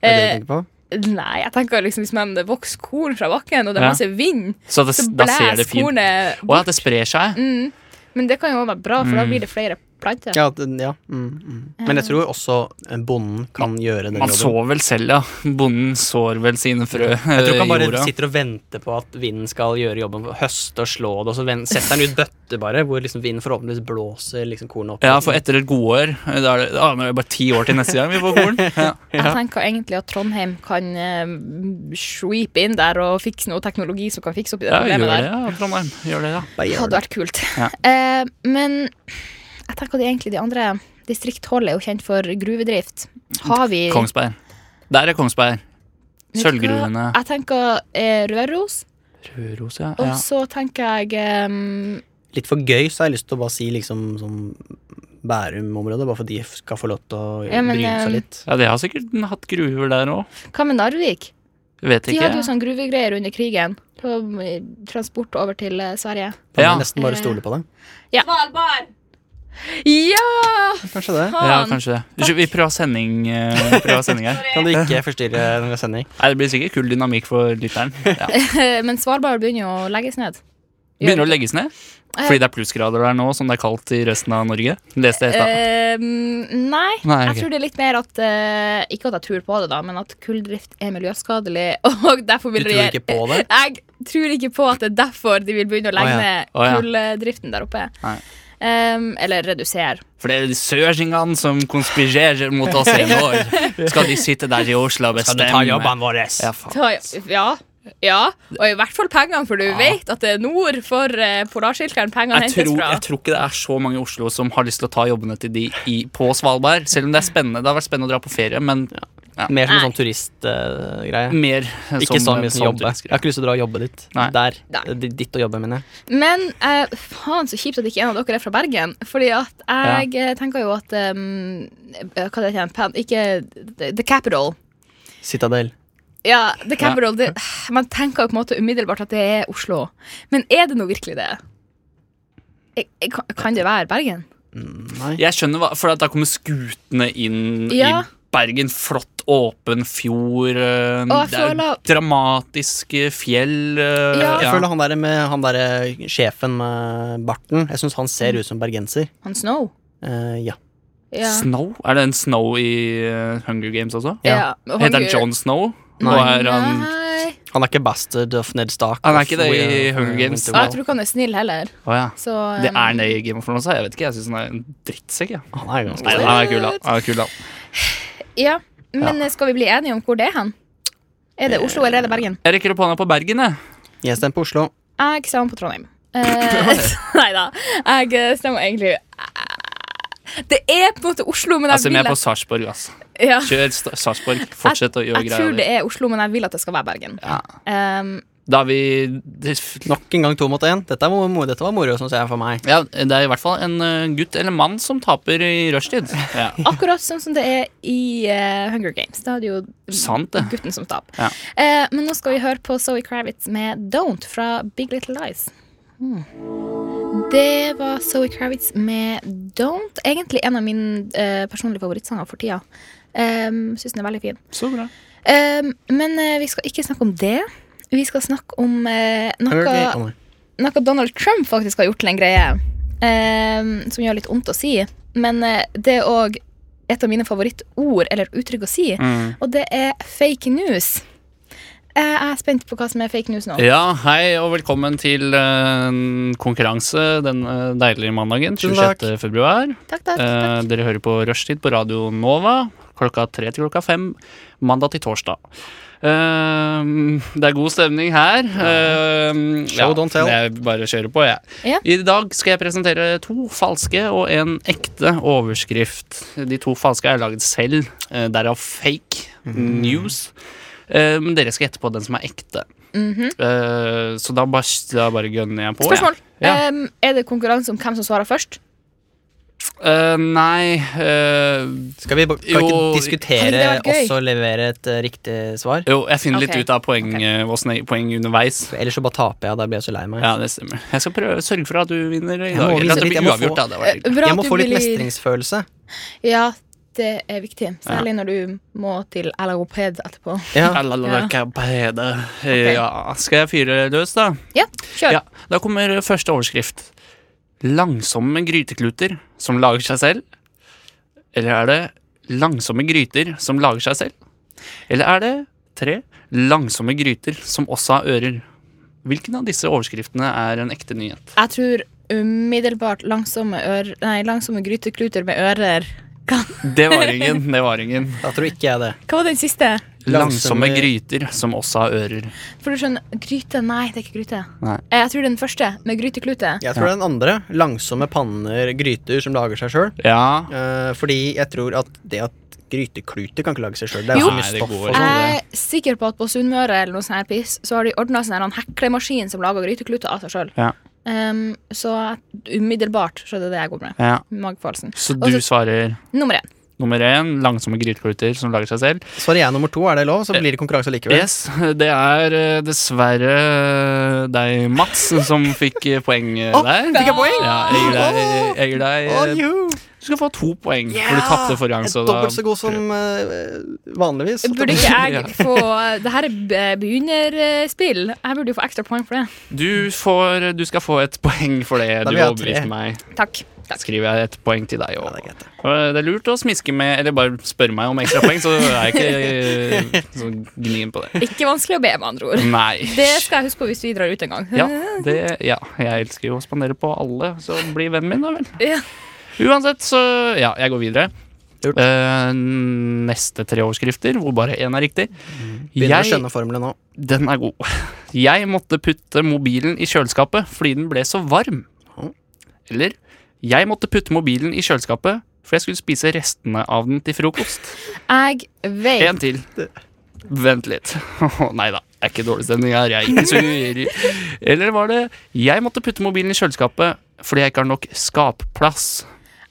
Er det det du Eh, tenker på? Nei, jeg tenker liksom hvis man vokser korn fra bakken, og det Ja. er masse vind, Så, det, så da ser det blåser fint kornet Å ja, det sprer Mm. seg. Mm. Men det kan jo også være bra, for da blir det flere plagg til. Ja, den- ja. Mm, mm. Men Eh. jeg tror også eh, bonden kan gjøre den Man jobben. sår vel selv, ja. Bonden sår vel sine frø Jeg tror ikke han i bare jorda. sitter og venter på at vinden skal gjøre jobben, høste og slå det, og så ven- setter han ut bøtter bare, hvor liksom vinden forhåpentligvis blåser liksom kornet opp. Ja, for etter et godår Da er det, ah, nå er det bare ti år til neste gang vi får korn. Ja. Jeg tenker egentlig at Trondheim kan eh, sweep inn der og fikse noe teknologi som kan fikse opp i det Ja, gjør problemet det, der. ja, Trondheim. Gjør det, ja. Bare gjør hadde det. vært kult. Ja. Eh, men jeg tenker at egentlig de andre distrikthold er jo kjent for gruvedrift. Har vi Kongsberg. Der er Kongsberg. Vet du hva? Sølvgruvene. Jeg tenker eh, Røros, Røros, ja. og ja. så tenker jeg eh, Litt for gøy så har jeg lyst til å bare si liksom sånn Bærum-området, bare for de skal få lov til å Ja, men, bryne eh, seg litt. Ja, de har sikkert hatt gruver der òg. Hva med Narvik? Vet De ikke. hadde jo sånn gruvegreier under krigen. På eh, transport over til eh, Sverige. Da må ja. jeg nesten bare Eh, stole på det. Svalbard! Ja! Kanskje det. ja, Faen! kanskje det. Unnskyld, Vi prøver sending, eh, vi prøver sending her. Kan du ikke forstyrre en sending? Nei, det blir sikkert kul dynamikk for lytteren. Ja. Men Svalbard begynner jo å legges ned. Begynner å legges ned? Fordi det er plussgrader der nå, som det er kaldt i resten av Norge? Leste jeg i stad. Eh, nei, Nei, jeg ok. tror det er litt mer at eh, Ikke at jeg tror på det, da, men at kulldrift er miljøskadelig. Og derfor Du vil tror regjer- ikke på det? Jeg tror ikke på at det er derfor de vil begynne å legge Å ja. ned Å ja. kulldriften der oppe. Nei. Em, eller redusere. For det er de sørsingene som konspirerer mot oss i år. Skal de sitte der i Oslo og Skal du ta bestemme? jobbene våre? Ja, faen. Ta, ja. ja. Og i hvert fall pengene, for du vet at det er nord for uh, polarskilteren pengene Jeg hentes tror, fra. jeg tror ikke det er så mange i Oslo som har lyst til å ta jobbene til de i, på Svalbard. Selv om det er spennende. Det har vært spennende å dra på ferie, men Mer som en Nei. sånn turistgreie. mer Mm. som eh, sånn Ikke så mye som som jobbe. Jeg har ikke lyst til å dra og jobbe dit. Nei. Der. Nei. D- Ditt å jobbe, mener jeg. Men eh, faen så kjipt at ikke en av dere er fra Bergen. Fordi at jeg eh, tenker jo at um, eh, Hva det heter det? Pen- Ikke The- The Capital. Citadel. Ja, The Capital det, Man tenker jo på en måte umiddelbart at det er Oslo. Men er det nå virkelig det? Jeg, jeg, kan- kan det være Bergen? Nei. Jeg skjønner hva, for at da kommer skutene inn Ja. i Bergen. Flott, åpen fjord. eh, Og jeg Det er føler- dramatiske fjell. eh, Ja. ja. Jeg føler han der med han derre sjefen med barten Jeg syns han Mm. ser ut som bergenser. Han Snow? Eh, ja. Ja. Snow? Er det en Snow i eh, Hunger Games også? Ja, og Heter han Hunger- John Snow? Nei. Og er han Nei. Han er ikke bastard of Ned Stark. Han er of eh, ikke det i Weir- Hunger Games. Og jeg Winterfell. tror ikke han er snill heller. Å ja. Så, Det um, er det i Game of Thrones, da. jeg vet ikke. Jeg syns han er en drittsekk. jeg. Han er ganske Nei, stor. han er kul, han. Han er kul, han. Ja, Men eh, skal vi bli enige om hvor det er hen? Er Eh, det Oslo eller er det Bergen? Jeg rekker opp hånda på Bergen, jeg. Jeg stemmer på Oslo. Jeg stemmer på Trondheim. Eh, Nei da. Jeg eh, stemmer egentlig eh, Det er på en måte Oslo, men jeg Altså, vi vil er på at Sarpsborg, ass. ja. Kjør Sta- Sarpsborg. Fortsett å gjøre Jeg tror det greier. er Oslo, men jeg vil at det skal være Bergen. Ja. Um, Da er vi det er f- Nok en gang to mot én. Dette, er mo- mo- dette var moro, syns jeg, for meg. Ja, det er i hvert fall en eh, gutt eller mann som taper i rushtid. Ja. akkurat sånn som det er i eh, Hunger Games. Da er det jo Sant det. gutten som taper. Ja. Eh, men nå skal vi høre på Zoe Kravitz med Don't fra Big Little Lies. Hmm. Det var Zoe Kravitz med Don't. Egentlig en av mine eh, personlige favorittsanger for tida. Um, Syns den er veldig fin. Så bra. Um, men eh, vi skal ikke snakke om det. Vi skal snakke om eh, noe, Hunger- Å, nei. noe Donald Trump faktisk har gjort til en greie. Um, som gjør litt vondt å si. Men eh, det er òg et av mine favorittord eller uttrykk å si. Mm. Og det er fake news. Eh, jeg er spent på hva som er fake news nå. Ja, hei og velkommen til eh, en konkurranse denne deilige mandagen. Tusen takk. 26. februar. Takk, takk, Eh, takk. dere hører på Rushtid på Radio Nova klokka tre til klokka fem mandag til torsdag. Eh, det er god stemning her. Eh, Show, don't tell. Jeg bare kjører på, jeg. Ja. I dag skal jeg presentere to falske og en ekte overskrift. De to falske er lagd selv, eh, derav fake Mhm. news. Eh, Men dere skal gjette på den som er ekte. Eh, så da bare, da bare gønner jeg Mhm. på. jeg. Spørsmål. Ja. Um, er det konkurranse om hvem som svarer først? Eh, nei eh, Skal vi bo- kan Jo, vi ikke Herregud, diskutere det var gøy. og så levere et eh, riktig svar? Jo, jeg finner Ok. litt ut av poeng, eh, hvordan jeg- poeng underveis. Ellers så bare taper jeg, og da blir jeg så lei meg. Ja, det stemmer. Jeg skal prøve sørge for at du vinner i Jeg dag. må Eller vise at det litt, blir jeg må uavgjort, få- da. Det var hyggelig. Eh, Bra Jeg at må du få litt vil gi- mestringsfølelse. Ja, det er viktig. Særlig når du må til LROPED E etterpå. Ja. Alalala, kabede. Ja, skal jeg fyre løs, da? Ja, kjør. Ja, Da kommer første overskrift. langsomme grytekluter som lager seg selv? Eller er det langsomme gryter som lager seg selv? Eller er det tre langsomme gryter som også har ører? Hvilken av disse overskriftene er en ekte nyhet? Jeg tror umiddelbart langsomme, ør, nei, langsomme grytekluter med ører Det var ingen. det var ingen. Da tror ikke jeg det. Hva var den siste? Langsomme gryter som også har ører. For du skjønner, gryte Nei, det er ikke gryte. Nei. Eh, Jeg tror det er den første, med gryteklute. Jeg tror det er den andre. Langsomme panner, gryter som lager seg sjøl. Ja, fordi jeg tror at det at grytekluter kan ikke lage seg sjøl. Det er Jo. så mye Nei, det stoff går og ikke. sånn. Jeg er sikker på at på Sunnmøre eller noe sånn her piss, så har de ordna sånn her en heklemaskin som lager grytekluter av seg sjøl. Ja. Um, så umiddelbart så er det det jeg går med. ja. Magefølelsen. Så Og du Altså- svarer Nummer én. nummer én langsomme grytekluter som lager seg selv. Svarer sånn. jeg nummer to, er det lov? Så blir det konkurranse likevel. Eh, Yes, det er eh, dessverre eh, deg, Mats, som fikk eh, poeng eh, der. fikk jeg poeng? Ja, jeg gir deg, jeg gir deg Å, eh, juhu! Du skal få to poeng, for du tapte forrige gang. Jeg Så er da, dobbelt så god som eh, vanligvis. Burde ikke Ja. jeg få Det her er be- begynnerspill. Jeg burde jo få ekstra poeng for det. du, får, du skal få et poeng for det. Da vil Du jeg ha tre. overbeviste meg. Takk. Da skriver jeg et poeng til deg. Og, det er greit, det. og eh, det er lurt å smiske med Eller bare spørre meg om ekstra poeng, så er jeg ikke eh, så gnien på det. Ikke vanskelig å be, med andre Mm. ord. Nei. Det skal jeg huske på hvis vi drar ut en gang. Ja, det, ja, jeg elsker jo å spandere på alle, så bli vennen min, da vel. Ja. Uansett, så ja, jeg går videre. Lurt. Eh, neste tre overskrifter, hvor bare én er riktig. Begynner å Jeg, skjønne formelen nå. den er god. Jeg måtte putte mobilen i kjøleskapet fordi den ble så varm. Å. Eller jeg måtte putte mobilen i kjøleskapet for jeg skulle spise restene av den til frokost. Jeg vet En til. Vent litt. Nei da, det er ikke dårlig stemning her. Jeg er ikke sur. Eller var det Jeg måtte putte mobilen i kjøleskapet fordi jeg ikke har nok skapplass.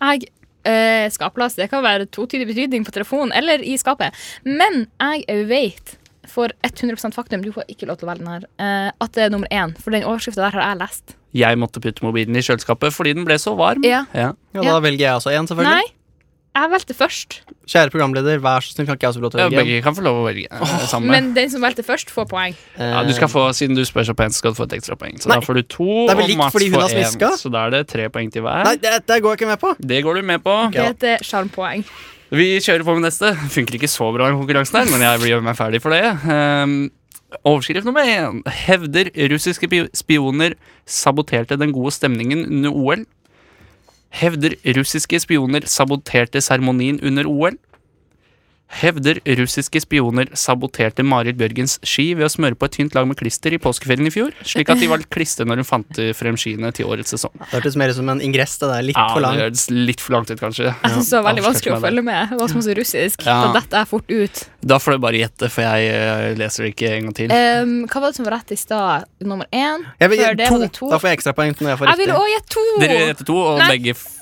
Jeg eh, skapplass, det kan være totidig betydning på telefonen eller i skapet. Men jeg vet for 100 faktum, du får ikke lov til å velge den her, eh, at det er nummer én. For den overskrifta der har jeg lest. Jeg måtte putte mobilen i kjøleskapet fordi den ble så varm. Eh, Ja. Ja, da velger jeg også én, Nei, selvfølgelig. jeg valgte først. Kjære programleder, vær så snill, kan ikke jeg også få lov til å Ja, velge? Begge kan få lov å velge. eh, sammen. Men den som valgte først, får poeng. Eh, ja, du skal få, Siden du spør så pent, skal du få et ekstrapoeng. Så da Nei. får du to, Det er vel og likt Mats fordi hun har får én. smiska? Så da er det tre poeng til hver. Eh, Nei, dette går jeg ikke med på! Det går du med på. Det heter sjarmpoeng. Vi kjører på med neste. Funker ikke så bra i konkurransen her, men jeg blir jo meg ferdig for det. Ehm, overskrift nummer én. Hevder russiske pi- spioner saboterte den gode stemningen under OL. Hevder russiske spioner saboterte seremonien under OL. Hevder russiske spioner saboterte Marit Bjørgens ski ved å smøre på et tynt lag med klister i påskeferien i fjor, slik at de var klister når hun fant frem skiene til årets sesong. Det hørtes mer ut som en ingress. Det der, litt Ja, for lang. det høres litt for langt ut, kanskje. Jeg synes det var veldig Ja, vanskelig å avslørte følge med. Det var som så russisk. Ja. Da detter jeg fort ut. Da får du bare gjette, for jeg eh, leser det ikke en gang til. Ehm, hva var det som var rett i stad? Nummer én? Jeg vil, Før det to. var det to. Da får jeg ekstrapoeng når jeg får Jeg ville riktig. òg gjette to! Dere gjetter to, og Nei. begge, f-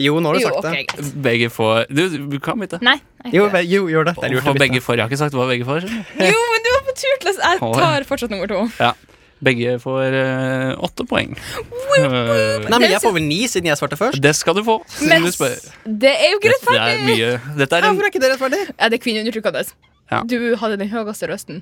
Jo, nå har du jo, sagt ok, det. greit. begge får Du, du kan bytte. Nei. jeg Jo, gjør ikke det. ve- jo, gjør det. Det er lurt å Og begge bytte. får. Jeg har ikke sagt hva begge får. skjønner du. jo, men du var på tur til å Jeg Å, ja. tar fortsatt nummer to. Begge får eh, åtte poeng. Eh, Nei, Det men jeg synes- får vel ni, siden jeg svarte først. det skal du få. siden Men du spør. det er jo ikke Dette rettferdig! er mye Dette er Ja, en Hvorfor er ikke det rettferdig? Ja, det er kvinneundertrykkende. Ja. Du hadde den høyeste røsten.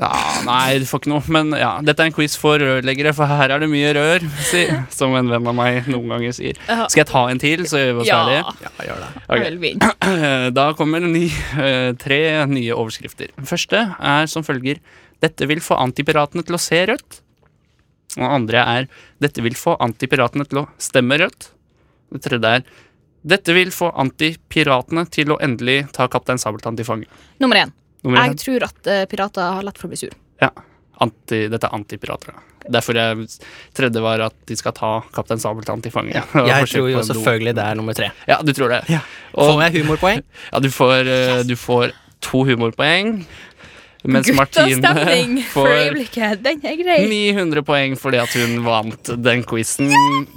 ja, Nei, du får ikke noe. Men ja, dette er en quiz for rørleggere, for her er det mye rør, si, som en venn av meg noen ganger sier. Ja. Skal jeg ta en til, så gjør vi oss Ja, ferdige? jeg Ja, gjør det. Ok. vil vinne. Da kommer ny, eh, tre nye overskrifter. Den første er som følger Dette vil få antipiratene til å se rødt. Og den andre er Dette vil få antipiratene til å stemme rødt. Den tredje er Dette vil få antipiratene til å endelig ta Kaptein Sabeltann til fange. Nummer én. Nummer Jeg én. tror at eh, pirater har lett for å bli sur. Ja. Anti, dette er antipirater. da. Derfor jeg, tredje var at de skal ta Kaptein Sabeltann til fange. Jeg Forsøk tror på jo en do. selvfølgelig det er nummer tre. Ja, du tror det. Ja. Og- Får jeg humorpoeng? Ja, du får, eh, du får to humorpoeng. Mens Guttastemning Martine for får øyeblikket. Den er grei. 900 poeng fordi at hun vant den quizen.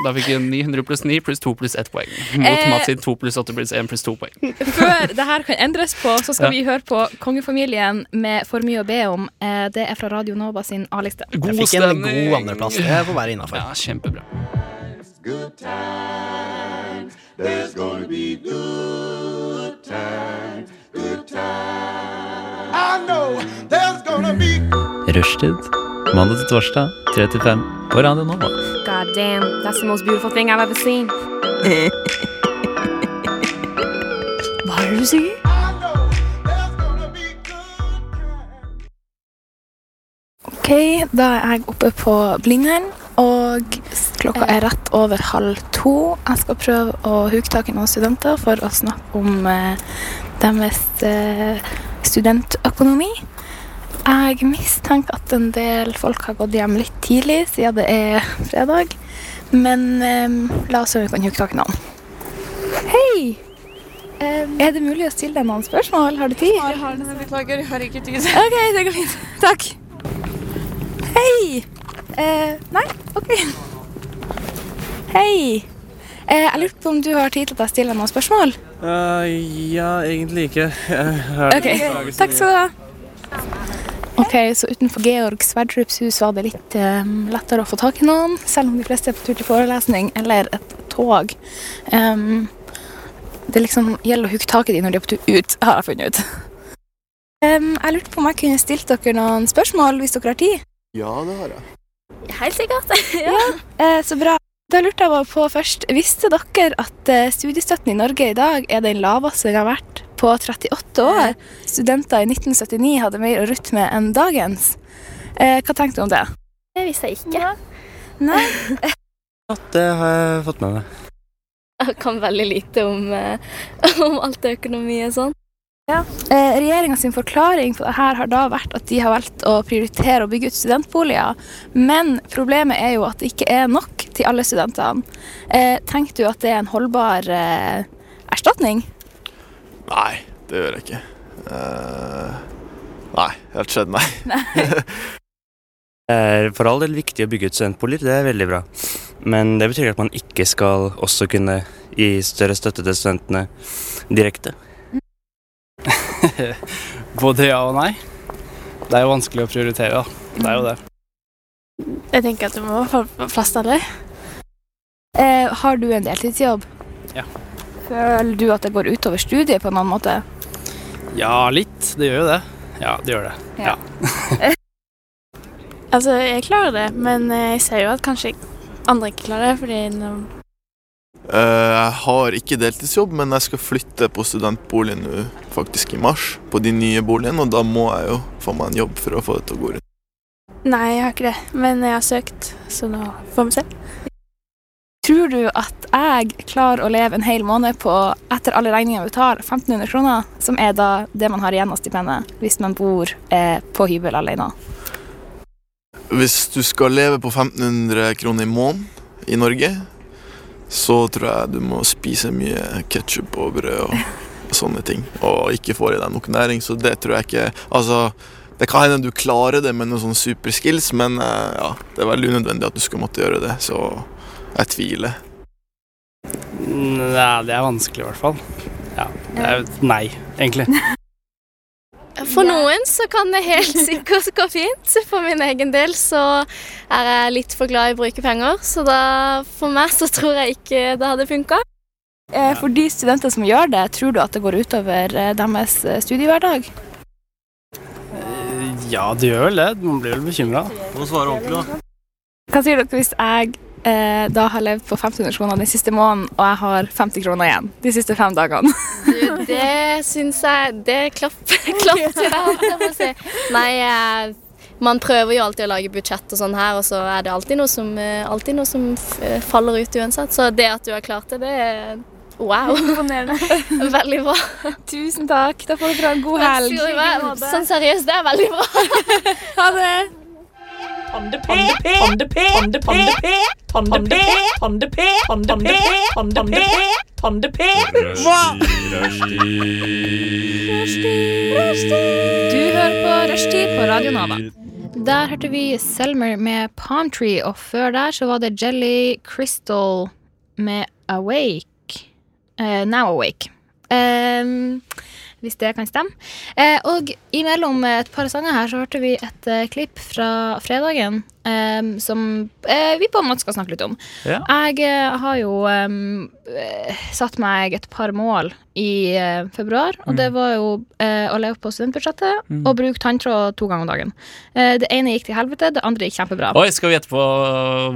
Da fikk hun 900 pluss 9 pluss 2 pluss 1 poeng. Mot Eh. Mats sin 2 pluss 8 pluss 1 pluss 2 poeng. Før det her kan endres på, så skal Ja. vi høre på Kongefamilien med For mye å be om. Eh, Det er fra Radio Nova sin A-liste. God Jeg fikk en god andreplass. Det får være innafor. Ja, kjempebra. Rushtid mandag til torsdag 3 til 5 på Radio Nova. Ga God damn, that's the most beautiful thing I've ever seen. Hva er det du sier? OK, da er jeg oppe på Blindern, og s- klokka er rett over halv to. Jeg skal prøve å huke tak i noen studenter for å snakke om eh, deres eh, studentøkonomi. Jeg mistenker at en del folk har gått hjem litt tidlig, siden det er fredag. Men eh, la oss se om vi kan huke tak i noen. Hei! er det mulig å stille deg noen spørsmål? Har du tid? Jeg Ehm. har det, men beklager. Jeg har ikke tid. OK, det går fint. Takk. Hei! Eh, nei, OK. Hei. Eh, jeg lurte på om du har tid til at jeg stiller noen spørsmål? Eh, ja, egentlig ikke. Ok, takk skal du ha. Ok, så utenfor Georg Sverdrups hus var det litt eh, lettere å få tak i noen, selv om de fleste er på tur til forelesning eller et tog. Em, det liksom gjelder å hooke tak i de når de er på tur ut, har jeg funnet ut. Em, jeg lurte på om jeg kunne stilt dere noen spørsmål, hvis dere har tid? Helt sikkert. Eh, så bra. Da lurte jeg bare på først, visste dere at eh, studiestøtten i Norge i dag er den laveste den har vært på 38 år? Studenter i 1979 hadde mer å rutte med enn dagens. Eh, hva tenkte du om det? Det visste jeg ikke. Det har jeg fått med meg. Jeg kan veldig lite om, eh, om alt det økonomi og sånn. Eh, Regjeringa sin forklaring på det her har da vært at de har valgt å prioritere å bygge ut studentboliger, men problemet er jo at det ikke er nok til alle studentene. Eh, tenker du at det er en holdbar eh, erstatning? Nei, det gjør jeg ikke. Eh, nei, helt skjedd, nei. Det er for all del viktig å bygge ut studentboliger, det er veldig bra. Men det betyr ikke at man ikke skal også kunne gi større støtte til studentene direkte. Både ja og nei. Det er jo vanskelig å prioritere, da. Det er jo det. Jeg tenker at du må få plass til alle. Eh, har du en deltidsjobb? Ja. Føler du at det går utover studiet på en annen måte? Ja, litt. Det gjør jo det. Ja, det gjør det. Altså, jeg klarer det, men eh, jeg ser jo at kanskje andre ikke klarer det, fordi nå- Eh, jeg har ikke deltidsjobb, men jeg skal flytte på studentbolig nå faktisk i mars. På de nye boligene, og da må jeg jo få meg en jobb for å få det til å gå rundt. Nei, jeg har ikke det, men jeg har søkt, så nå får vi se. Tror du at jeg klarer å leve en hel måned på, etter alle regninger vi tar, 1500 kroner, som er da det man har igjen av stipendet hvis man bor eh, på hybel alene? Hvis du skal leve på 1500 kroner i måneden i Norge, så tror jeg du må spise mye ketsjup og brød og, og sånne ting. Og ikke får i deg nok næring, så det tror jeg ikke Altså, det kan hende du klarer det med noen sånne superskills, men eh, ja, det er veldig unødvendig at du skal måtte gjøre det, så jeg tviler. Nei, det er vanskelig i hvert fall. Ja, det er jo nei, egentlig. For noen så kan det helt sikkert gå fint. For min egen del så er jeg litt for glad i å bruke penger, så da, for meg så tror jeg ikke det hadde funka. Eh, for de studenter som gjør det, tror du at det går utover eh, deres eh, studiehverdag? Ja, det gjør vel det. Man blir vel bekymra. Hva sier dere hvis jeg eh, da har levd på 1500 kroner den siste måneden, og jeg har 50 kroner igjen de siste fem dagene? Det syns jeg Det klapp, klapp til deg, holdt jeg på å si. Nei, eh, man prøver jo alltid å lage budsjett og sånn her, og så er det alltid noe som, eh, alltid noe som f- eh, faller ut uansett. Så det at du har klart det, det er wow. Veldig bra. Tusen takk. Da får dere ha en god helg. Sier jeg, Sånn seriøst, det er veldig bra. Ha det. Du hører på Rushtid på Radio Nova. Der hørte vi Selmer med Palm Tree, og før der så var det Jelly Crystal med Awake. Eh, Now Awake. Ehm, hvis det kan stemme. Eh, og imellom et par sanger her så hørte vi et eh, klipp fra fredagen ehm, som eh, vi på en måte skal snakke litt om. Ja. Jeg eh, har jo ehm, eh, satt meg et par mål i eh, februar, og det var jo eh, å leve på studentbudsjettet og bruke tanntråd to ganger om dagen. Eh, det ene gikk til helvete, det andre gikk kjempebra. Oi, skal vi gjette på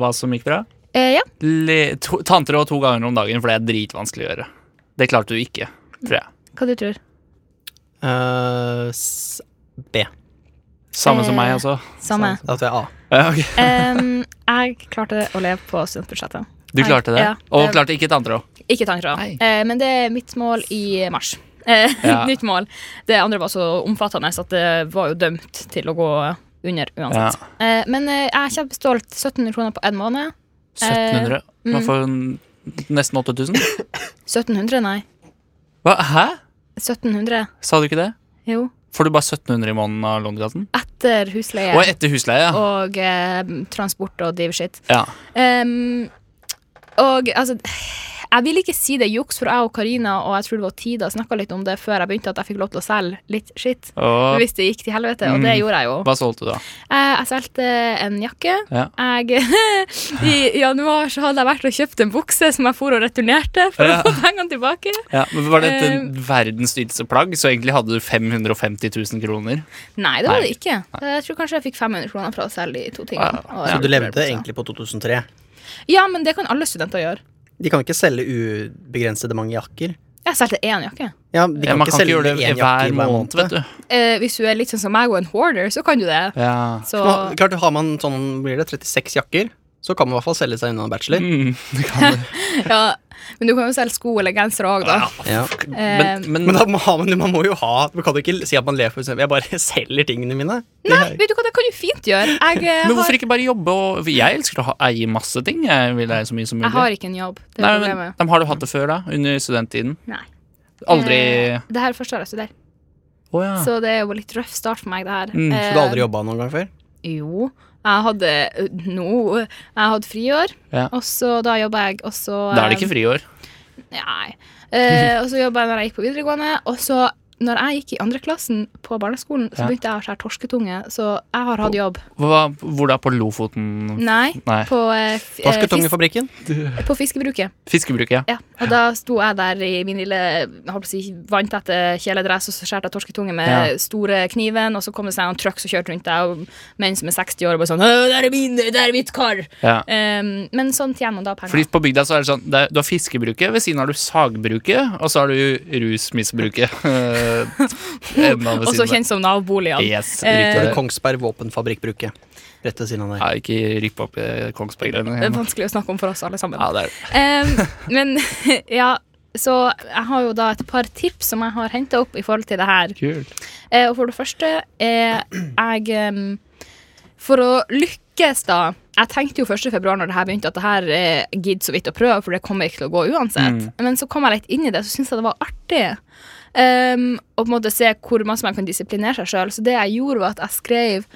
hva som gikk bra? Eh, ja. Le to tanntråd to ganger om dagen, for det er dritvanskelig å gjøre. Det klarte du ikke, tror jeg. Hva du tror Eh, s- B. Samme Eh, som meg, altså. samme. Da tror jeg A. Ja, ok. Em, jeg klarte å leve på studentbudsjettet. Du klarte det? Ja, Og det- klarte ikke tanntråd? Ikke tanntråd. Nei. Eh, men det er mitt mål i mars. Eh, Ja. Nytt mål. Det andre var så omfattende at det var jo dømt til å gå under Altså, uansett. Eh, men eh, jeg er kjempestolt. 1700 kroner på én måned. Eh, 1700? Man mm. får en- nesten 8000? 1700, nei. Hva? Hæ? 1700. Sa du ikke det? Jo. Får du bare 1700 i måneden av Lånekassen? Etter husleie. Og etter husleie, ja. Og eh, transport og div shit. ja. Ehm, og altså Jeg vil ikke si det er juks, for jeg og Karina og jeg tror det var Tida snakka litt om det før jeg begynte, at jeg fikk lov til å selge litt skitt. Og Hvis det gikk til helvete, og det Mm. gjorde jeg jo. Eh, hva solgte du, da? Jeg, jeg solgte en jakke. Ja. Jeg, I januar så hadde jeg vært og kjøpt en bukse som jeg for og returnerte for Ja. å få pengene tilbake. Ja, men Var dette Eh, verdens dyreste plagg? Så egentlig hadde du 550 000 kroner. Nei, det var Nei. det ikke. Eh, Jeg tror kanskje jeg fikk 500 kroner fra å selge de to Ja, ja. tingene. og Så du returnere levde buksa. egentlig på 2003? Ja, men det kan alle studenter gjøre. De kan ikke selge ubegrensede mange jakker. Jeg solgte én jakke. Ja, de kan Ja, ikke man kan ikke selge gjøre det én jakke hver i måned, vet du. Eh, hvis du er litt sånn som meg og en hoarder, så kan du det. Ja. Så Man, klart, har man sånn, blir det 36 jakker, så kan man i hvert fall selge seg unna en bachelor. Mm, det kan du. Ja, men du kan jo selge sko eller genser òg, da. Ja. Ja. Men, Eh, men, Men da må ha- man, man må jo ha Man kan jo ikke si at man lever for eksempel, Jeg bare selger tingene mine. Nei, vet du hva, det kan du fint gjøre. Jeg, eh, men hvorfor har, ikke bare jobbe og for Jeg elsker å ha, eie masse ting. Jeg vil eie så mye som mulig. jeg har ikke en jobb. Det er Nei, men, problemet. de har du hatt det før, da? Under studenttiden? Nei. Aldri Eh, Det her er første året jeg studerer, Å ja. så det er jo litt røff start for meg, det her. Eh, Mm, Så du har aldri jobba noen gang før? Jo. Jeg hadde eh, nå Jeg hadde friår, Ja. og så da jobba jeg, og så eh, Da er det ikke friår. Nei. Eh, og så jobba jeg når jeg gikk på videregående. Og så, når jeg gikk i andre klassen på barneskolen, så Ja. begynte jeg å skjære torsketunge. Så jeg har hatt jobb. Hva, hvor da? På Lofoten? Nei. Nei. På, eh, f- eh, fisk, Torsketungefabrikken? på fiskebruket. Fiskebruket, ja. Ja. Og da sto jeg der i min lille jeg holdt på å si, vanntette kjeledress og så skjærte jeg torsketunge med Ja. store kniven, og så kom det seg noen trucks og kjørte rundt deg, og menn som er 60 år og bare sånn «Å, 'Der er min! Der er mitt kar!' ja. Em, men sånn tjener man da penger. Fordi på bygda så er det sånn det er, Du har fiskebruket, ved siden har du sagbruket, og så har du rusmisbruket. Eh, enda ved Også siden av. kjent som navboligene. Yes, Det riktig. er Kongsberg våpenfabrikkbruket. Rett ved siden av Ja, deg. ikke ripp opp eh, Det er Kongsberg-greiene. vanskelig å snakke om for oss alle sammen. Ja, det er det. Em, men ja, så jeg har jo da et par tips som jeg har henta opp i forhold til det her. Kult. Eh, og for det første er jeg em, For å lykkes, da Jeg tenkte jo 1. februar når det her begynte, at det her eh, gidder så vidt å prøve, for det kommer ikke til å gå uansett. Men så kom jeg litt inn i det, så syntes jeg det var artig. Um, og på en måte se hvor masse man kan disiplinere seg sjøl. Så det jeg gjorde, var at jeg skrev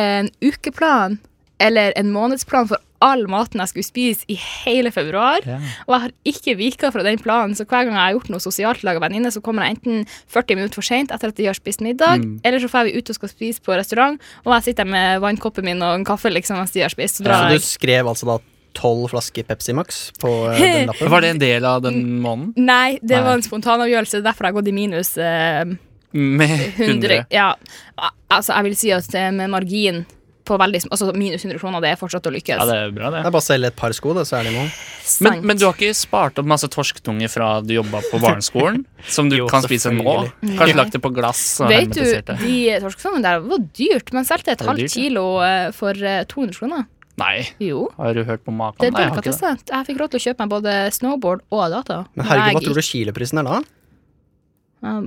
en ukeplan eller en månedsplan for all maten jeg skulle spise i hele februar. Og jeg har ikke vika fra den planen, så hver gang jeg har gjort noe sosialt lag av venninne, så kommer jeg enten 40 minutter for seint etter at de har spist middag, Mm. eller så får vi ut og skal spise på restaurant, og jeg sitter med vannkoppen min og en kaffe liksom mens de har spist. Så Så drar du jeg. skrev altså da tolv flasker Pepsi Max på eh, den lappen? Var det en del av den måneden? Nei, det Nei. var en spontanavgjørelse. det er Derfor har jeg gått i minus. Eh, Med 100, 100? ja. Al- Altså, jeg vil si at eh, med margin på veldig, sm- altså minus 100 kroner, det er fortsatt å lykkes. Ja, det er bra, Det det. er bare å selge et par sko, da, så er det noe. Sant. Men, men du har ikke spart opp masse torsktunge fra du jobba på barneskolen? Som du Jo, kan spise nå? selvfølgelig. Nei. Kanskje lagt det på glass? Og Vet du, hermetisert det? de torskesangene der var dyrt, men solgte et det halvt dyrt, ja? kilo eh, for eh, 200 kroner. Nei, Jo. har du hørt på maken? Det er Nei, jeg har ikke det. delikatesse. Jeg fikk råd til å kjøpe meg både snowboard og data. Men herregud, hva tror du kiloprisen er da?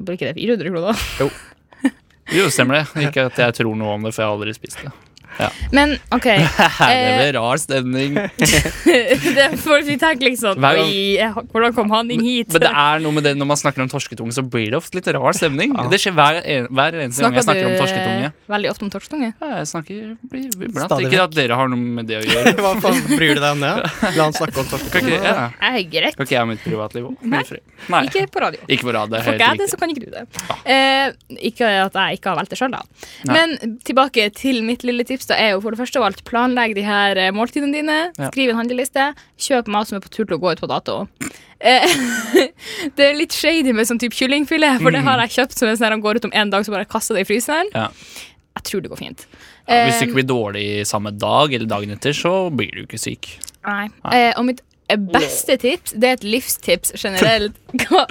Blir ikke det 400 kroner? Jo, stemmer det. Ikke at jeg tror noe om det, for jeg har aldri spist det. Men OK. Eh, Det ble rar stemning. det er folk vi tenker liksom Hver gang- Oi, eh, hvordan kom han inn hit? Men det er noe med det når man snakker om torsketunge, så blir det ofte litt rar stemning. Det skjer hver, en- hver eneste gang jeg snakker om du, eh, torsketunge. veldig ofte om torsketunge? Ja, jeg snakker iblant. Stadig Ikke at dere har noe med det å gjøre. Hva faen bryr du deg om det? La han snakke om torsk. Kan ikke, ja. Jeg er greit. kan ikke jeg ha mitt privatliv òg? Nei. Nei. Ikke på radio. Ikke på rad, det er Får helt ikke jeg det, riktig. så kan ikke du det. Eh, ikke at jeg ikke har valgt det sjøl, da. Nei. Men tilbake til mitt lille tips, da er jo for det første av alt planlegg de her eh, måltidene dine. Ja. Skriv en handleliste. Kjøp mat som er på tur til å gå ut på dato. Eh, det er litt shady med sånn type kyllingfilet, for det har jeg kjøpt som en sånn her, han går ut om en dag, så bare kaster det i fryseren. Mm. Ja. Jeg jeg tror det går fint. Ja, hvis du ikke Eh, blir dårlig samme dag eller dagen etter, så blir du ikke syk. Nei. Eh, og mitt eh, beste tips, det er et livstips generelt. Hva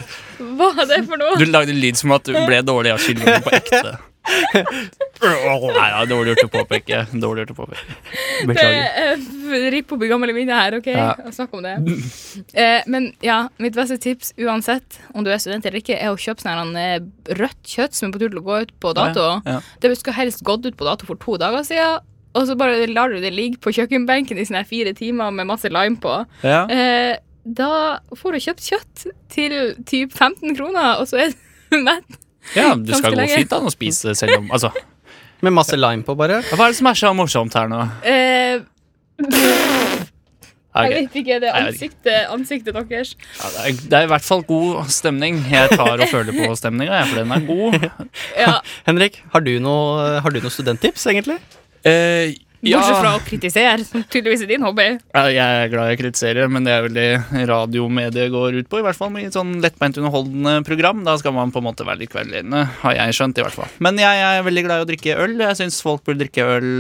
var det for noe? Du lagde lyd som at du ble dårlig av kyllingen på ekte. Nei, ja, dårlig gjort å påpeke. Dårlig gjort å påpeke. Beklager. Eh, eh, Ripp opp i gamle minner her, OK? Ja. Og Snakk om det. Eh, men ja, mitt beste tips uansett om du er student eller ikke, er å kjøpe sånn her, eh, rødt kjøtt som er på tur til å gå ut på dato. Ja, ja. Det skulle helst gått ut på dato for to dager siden. Og så bare lar du det ligge på kjøkkenbenken i sånne her fire timer med masse lime på. Ja. Eh, da får du kjøpt kjøtt til typ 15 kroner, og så er du mett. Ja, det Ganske skal gå lenge. fint an å spise selv om altså. Med masse lime på, bare. Hva er det som er så morsomt her nå? Eh, Ja, Jeg ok. vet ikke. Det er Nei, jeg ansiktet, ansiktet deres. Ja, det, er, det er i hvert fall god stemning. Jeg tar og føler på stemninga, jeg, for den er god. Ja. Henrik, har du noe, har du noe studenttips, egentlig? Eh, ja, Bortsett fra å kritisere, som tydeligvis er din hobby. Ja, jeg er glad jeg kritiserer, men det er vel det radiomediet går ut på. I hvert fall med sånn lettbeint underholdende program. Da skal man på en måte være litt kveldledende, har jeg skjønt. i hvert fall Men jeg er veldig glad i å drikke øl. Jeg syns folk burde drikke øl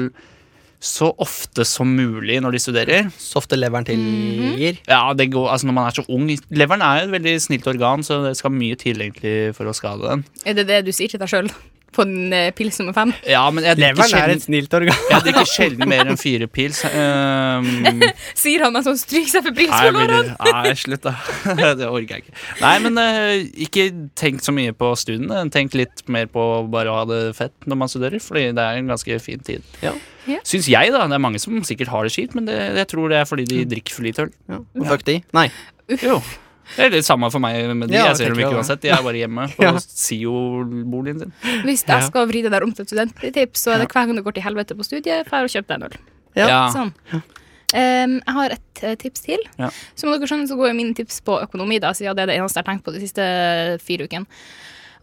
så ofte som mulig når de studerer. Så ofte leveren til gir. Ja, det går, altså Når man er så ung Leveren er jo et veldig snilt organ, så det skal mye til egentlig for å skade den. Er det det du sier til deg sjøl på den eh, pils nummer fem? Ja, men jeg drikker Leveren er et sjelden, snilt organ. jeg drikker sjelden mer enn fire pils. ehm, Sier han mens han stryker seg for Nei, jeg priskolorene? blir- Nei, slutt, da. det orker jeg ikke. Nei, men eh, ikke tenk så mye på studiene. Tenk litt mer på bare å ha det fett når man studerer, fordi det er en ganske fin tid. Ja. Ja. Syns jeg, da. Det er mange som sikkert har det kjipt, men det, jeg tror det er fordi Mm. de drikker for lite øl. Ja. Fuck de. Nei. Jo. Det er litt samme for meg med de. Ja, jeg ser dem tenker jeg ikke også. uansett. De er bare hjemme på Ja. SIO-boligen sin. Hvis Ja. jeg skal vri det der om til et studenttips, så er det hver gang du går til helvete på studiet, drar og kjøper deg en øl. Ja. Sånn. Em, jeg har et eh, tips til. Ah. Ja. Som dere skjønner, så går jo mine tips på økonomi, da, siden det er det eneste jeg har tenkt på de siste eh, fire ukene.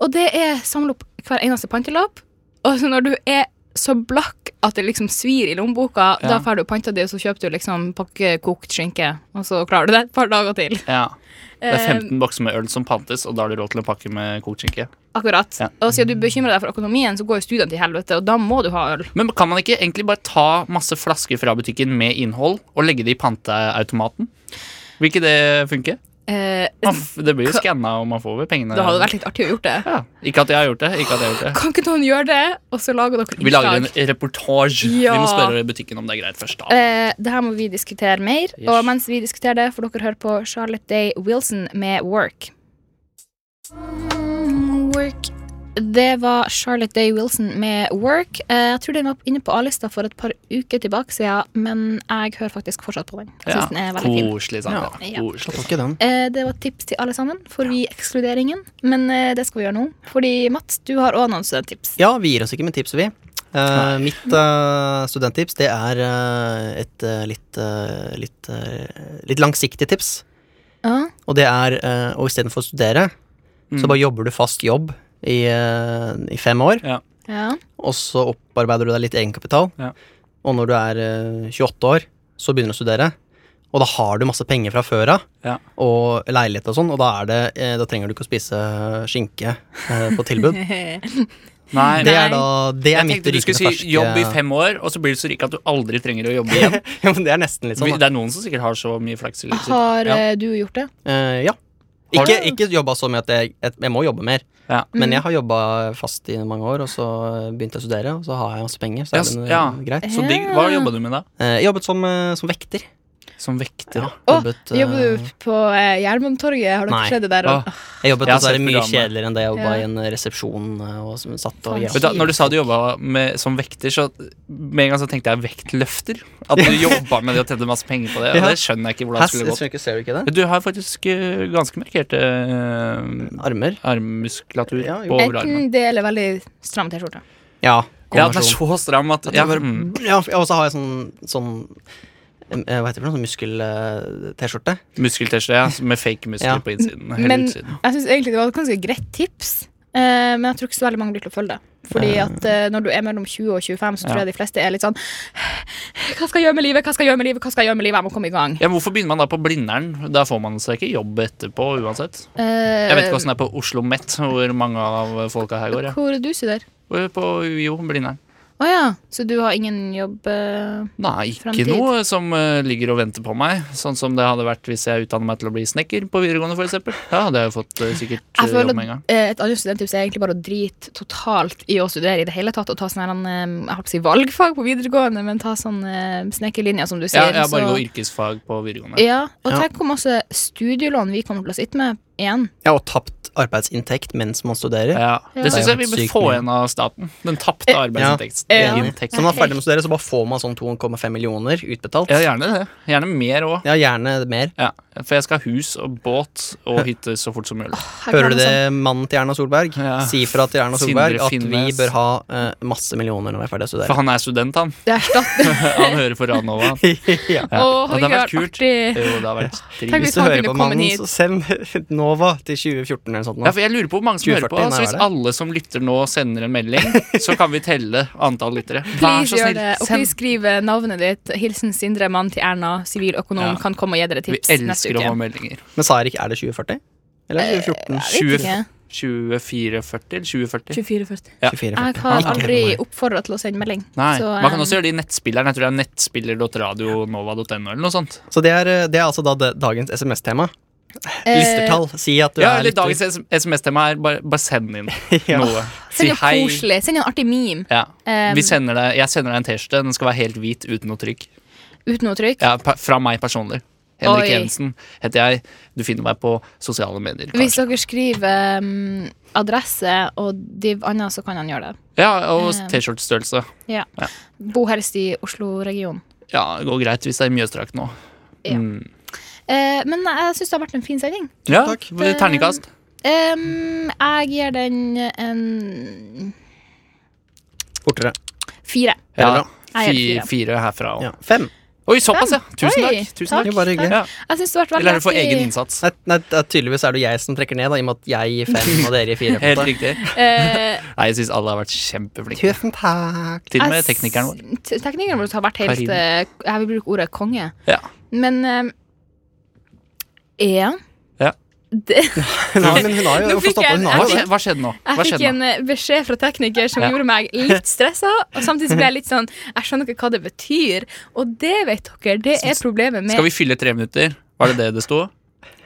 Og det er samle opp hver eneste pantelapp, og så når du er så blakk at det liksom svir i lommeboka, Ja. da får du panta di, og så kjøper du liksom pakke kokt skinke, og så klarer du det et par dager til. Ja. Det er Em, 15 bokser med øl som pantes, og da har du råd til en pakke med kokt skinke. Akkurat. Ja. Og siden du bekymrer deg for økonomien, så går jo studiene til helvete, og da må du ha øl. Men kan man ikke egentlig bare ta masse flasker fra butikken med innhold og legge det i panteautomaten? Vil ikke det funke? Eh, Man f- Det blir jo skanna, og man får vel pengene. det hadde vært litt artig å gjort det. ja. Ikke at jeg har gjort det. Ikke at jeg har gjort det. Kan ikke noen gjøre det, og så lager dere Vi lager en reportasje. Ja. Vi må spørre butikken om det er greit først. da Eh, det her må vi diskutere mer, Yes. og mens vi diskuterer det, får dere høre på Charlotte Day Wilson med Work. Work. Det var Charlotte Day Wilson med Work. Eh, jeg tror den var inne på A-lista for et par uker tilbake siden, men jeg hører faktisk fortsatt på den. Jeg synes eh, den er veldig fin. Koselig, sant? Ja. Koselig. Slå ikke den. Eh, det var et tips til alle sammen, for vi ekskluderingen. Men eh, det skal vi gjøre nå. Fordi Mats, du har òg noen studenttips. Ja, vi gir oss ikke med tips, vi. Eh, mitt eh, studenttips det er eh, et eh, litt, eh, litt, eh, litt langsiktig tips. Ja. Og det er eh, Og istedenfor å studere, Mm. så bare jobber du fast jobb i, eh, i fem år. Ja. Og så opparbeider du deg litt egenkapital. Ja. Og når du er eh, 28 år, så begynner du å studere. Og da har du masse penger fra før av, Ja. og leilighet og sånn, og da, er det, eh, da trenger du ikke å spise skinke eh, på tilbud. Nei, Det er da Det er jeg mitt tenkte du skulle rykende si jobb i ferske fem år, og så blir du så rik at du aldri trenger å jobbe igjen. ja, men Det er nesten litt sånn, da. Det er noen som sikkert har så mye flaks i livet sitt. Har Ja. eh, du gjort det? Eh, ja. Har Ikke, du- ikke jobba så mye at jeg, at jeg må jobbe mer, Ja. men Mm. jeg har jobba fast i mange år, og så begynte jeg å studere, og så har jeg masse penger, så Ja, er det ja. greit. Så digg. Hva jobba du med da? Eh, jeg jobbet som, eh, som vekter. Som vekter? Å, jobbet, eh, Jobber du på eh, Jernbanetorget? Har dere Nei. sett det der? Åh. Jeg jobbet Jeg har dessverre sett mye programmet. kjedeligere enn det jeg jobba Ja. i en resepsjon. eh, Og som satt og Faen. Vet du, hva, når du sa du jobba med- som vekter, så med en gang så tenkte jeg vektløfter. At du jobba med det og tjente masse penger på det. Og Ja. det skjønner jeg ikke hvordan Hæ, det skulle gått. ser ikke- ser du ikke det? Du har faktisk eh, ganske markerte eh, Armer. armmuskulatur Ja, jo. på overarmen. Enten det eller veldig stram T-skjorte. Ja. Ja, den er konversjon. så stram at ja, mm. ja, og så har jeg sånn, sånn eh, Hva heter det for noe? Sånn eh, muskel-T-skjorte? Muskeltesla, ja, med fake Ja. muskler på innsiden. Hele Men- utsiden. Jeg syns egentlig det var et ganske greit tips, eh, men jeg tror ikke så veldig mange blir til å følge det. Fordi at eh, når du er mellom 20 og 25, så tror jeg de fleste er litt sånn Hva skal jeg gjøre med livet? Hva skal jeg gjøre med livet? Hva skal jeg gjøre med livet? Jeg må komme i gang. Ja, men hvorfor begynner man da på Blindern? Da får man seg ikke jobb etterpå uansett. Jeg Eh, vet ikke åssen det Eh, er på Oslo Met, hvor mange av folka her går. Ja. Hvor du studerer? På UiO, Blindern. Å ja. Så du har ingen jobb eh, Nei, ikke fremtid? noe som eh, ligger og venter på meg. Sånn som det hadde vært hvis jeg utdanner meg til å bli snekker på videregående, f.eks. Ja, det har jeg fått eh, sikkert Jeg eh, jobb føler med en gang. at eh, et annet studenttips er egentlig bare å drite totalt i å studere i det hele tatt, og ta sånn her, eh, jeg holdt på å si valgfag på videregående, men ta sånn eh, snekkerlinja, som du Ja, sier. jeg bare så- går yrkesfag på videregående. Ja, og tenk hvor masse studielån vi kommer til å sitte med igjen. Ja, og tapt arbeidsinntekt mens man studerer. Ja. Det synes jeg vi bør få igjen av staten. Den tapte arbeidsinntekts- Ja. enig. inntekt. Så når man er ferdig med å studere, så bare får man sånn 2,5 millioner utbetalt. Ja, gjerne det. Gjerne mer òg. Ja, gjerne mer. Ja, for jeg skal ha hus og båt og hytte så fort som mulig. Hører du sånn- det, mannen til Erna Solberg? Ja. Si fra til Erna Sindre Solberg at vi Finnes. bør ha eh, masse millioner når vi er ferdig å studere. For han er student, han. Det er stapp. Han hører på Ranova. han. ja. Ja. Å, Det hadde vært herregud, kult. artig. Jo, det hadde vært Tenk trivelig. hvis Hvis du han hører kunne på komme mannen, hit. så send Nova til 2014 eller noe sånt. nå. Ja, for jeg lurer på hvor mange som hører 2040, på. Så nei, hvis hva er alle som lytter nå, sender en melding, så kan vi telle antall lyttere. Vær Please så gjør snill, det, og please send. skriv navnet ditt. Hilsen Sindre, mann til Erna, siviløkonom, Ja. kan komme og gi dere Vi tips neste elsker å uke. få meldinger. Men sa Erik, er det 2040? Eller er det 2014? Eh, Jeg vet 20, ikke. 2440 eller 2040? 2440. Ja. 2440? Jeg har Ikke aldri helt noe. oppfordra til å sende melding. Nei, Så, Man kan eh, også gjøre det i nettspilleren. Jeg tror det er nettspiller.radionova.no eller noe sånt. Så det er, eh, det er altså da det, dagens SMS-tema. eh, Listertall. Si at du Ja, er eller litt dagens SMS-tema er bare, bare send inn Ja. noe. Si Send en hei. koselig, send en artig meme Ja. eh, Vi sender deg, jeg sender deg en T-skjorte. Den skal være helt hvit uten noe trykk. uten noe trykk. Ja, pa- Fra meg personlig. Henrik Oi. Jensen heter jeg. Du finner meg på sosiale medier. Hvis Kanskje. dere skriver eh, adresse og div annet, så kan han gjøre det. Ja, Og Eh. T-skjortestørrelse. Ja. Ja. Bo helst i Oslo-regionen. Ja, det går greit hvis det er Mjøsdrakten nå. Ja. Mm. Eh, men jeg syns det har vært en fin sending. ja takk. hvor- Terningkast. Em, jeg gir den en fortere. fire. Ja, Jeg gir fi- fire. fire herfra òg. Ja. Fem. Oi, såpass, ja! Tusen Oi, takk. Tusen Det takk. er bare hyggelig. Ja. Jeg syns det har vært veldig Eller er det for artig. egen innsats? Nei, nei, det er tydeligvis er det jo jeg som trekker ned, da, i og med at jeg gir fem og dere gir fire. på en Helt måte. riktig. Eh, Nei, jeg syns alle har vært kjempeflinke. Tusen takk. Til og med jeg s- teknikeren vår. t- Teknikeren vår har vært helt Karin. eh, Jeg vil bruke ordet konge. Ja. Men eh, em, ja. Ja. Det, Nei, men hun har jo Nå fikk forstått det. Hun har Hva jo det. skjedde, hva skjedde nå? jeg Hva fikk skjedde en nå? eh, beskjed fra tekniker som Ja. gjorde meg litt stressa. Og samtidig så ble jeg litt sånn Jeg skjønner ikke hva det betyr. Og det vet dere, det er problemet med Skal vi fylle tre minutter? Var det det det sto?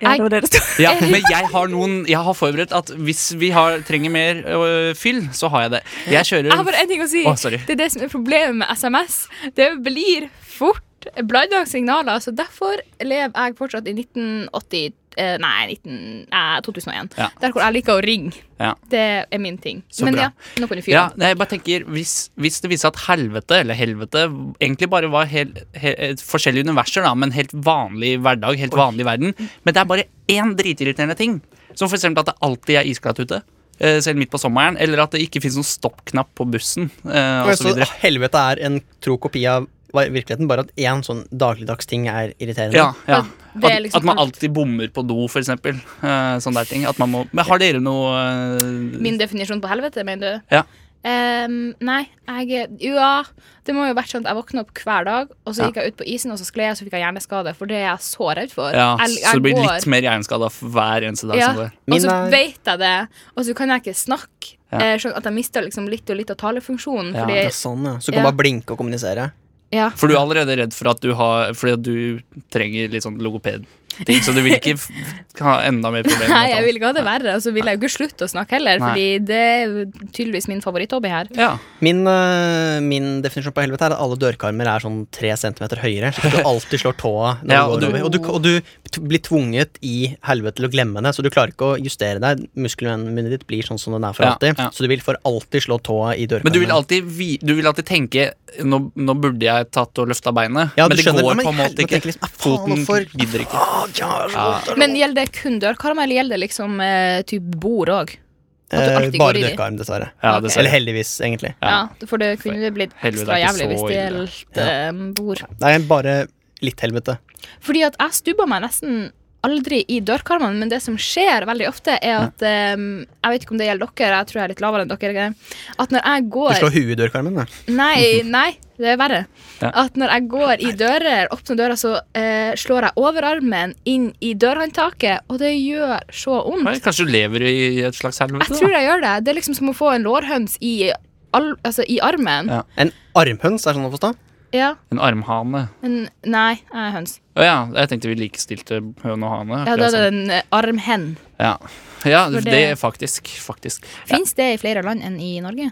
Ja, det var det det sto. Eh, Ja, men jeg har noen Jeg har forberedt at hvis vi har, trenger mer øh, fyll, så har jeg det. Jeg Jeg har kjører bare én ting å si. Å, sorry. det er det som er problemet med SMS. Det blir fort blanda signaler. Så derfor lever jeg fortsatt i 1980 eh, Nei, 19, nei 2001. Ja. Der hvor jeg liker å ringe. Ja. Det er min ting. Så Men bra. ja, nå kan du fyre. ja, nei, jeg bare tenker, hvis, hvis det viser seg at helvete eller helvete egentlig bare var hel, he- eh, forskjellige universer, da, men helt vanlig hverdag, helt vanlig verden Men det er bare én dritirriterende ting, som f.eks. at det alltid er isglatt ute. eh, Selv midt på sommeren, eller at det ikke fins noen stoppknapp på bussen. eh, Og så Så videre. helvete er en tro kopi av hva- virkeligheten, bare at én sånn dagligdags ting er irriterende. Ja, ja. det er At, liksom at man alt. alltid bommer på do, for eksempel. Eh, sånne der ting. At man må, men har dere noe eh, Min definisjon på helvete, mener du? Ja. Ehm, nei, jeg Ja. Det må jo ha vært sånn at jeg våkna opp hver dag, og så Ja. gikk jeg ut på isen, og så skled jeg, og så fikk jeg hjerneskade. For det er jeg så redd for. Ja, jeg, jeg så det blir går- litt mer hjerneskada for hver eneste dag. Ja. Som det. er. Og Min så er- vet jeg det, og så kan jeg ikke snakke. Ja. Eh, Sånn at jeg mister liksom litt og litt av talefunksjonen. Ja, Fordi, Ja, sånn, ja. Så kan Ja. bare blinke og kommunisere. ja. For du er allerede redd for at du, har, fordi at du trenger litt sånn logopedting, så du vil ikke f- ha enda mer problemer. med Nei, jeg tall. vil ikke ha det verre, og så vil jeg jo ikke slutte å snakke heller. Nei. Fordi det er jo tydeligvis min favoritthobby her. Ja. Min, øh, min definisjon på helvete er at alle dørkarmer er sånn tre centimeter høyere. Så du alltid slår tåa når Ja, du går og du- over. Og du, og du t- blir tvunget i helvete til å glemme det, så du klarer ikke å justere deg. Muskelmunnen ditt blir sånn som den er for Ja, alltid. ja. Så du vil for alltid slå tåa i dørkarmen. Men du vil alltid, vi, du vil alltid tenke nå, nå burde jeg tatt og løfta beinet, Ja, du men det skjønner. Ja, går men på en helvete, måte ikke. tenker liksom, «Ah, faen, Foten hvorfor?» gidder ikke. Ah, Men gjelder det kun dørkarmer, eller gjelder det liksom eh, typ bord òg? At du Eh, alltid går Bare i de. dørkarm, dessverre. Ja, Ok. det Eller ser jeg. heldigvis, egentlig. Ja. Ja. for det kunne det blitt ekstra Helvete, det er ikke jævlig hvis så det ille. gjaldt eh, bord. Nei, bare litt helvete. Fordi at jeg stubba meg nesten aldri i dørkarmene, men det som skjer veldig ofte, er at eh, Jeg vet ikke om det gjelder dere, jeg tror jeg er litt lavere enn dere. At når jeg Du går slår huet i dørkarmen, da. Nei, nei, det er verre. Ja. At når jeg går i dører, åpner døra, så eh, slår jeg overarmen inn i dørhåndtaket, og det gjør så Oi, vondt. Kanskje du lever i et slags Jeg helvete? tror jeg gjør det. Det er liksom som å få en lårhøns i al altså, i armen. Ja. En armhøns, er sånn å forstå? En armhane. Men nei, jeg er høns. Å ja, jeg tenkte vi likestilte høne og hane. Ja, da er det en eh, armhen. Ja, ja For det, det- er faktisk. faktisk. Fins det i flere land enn i Norge?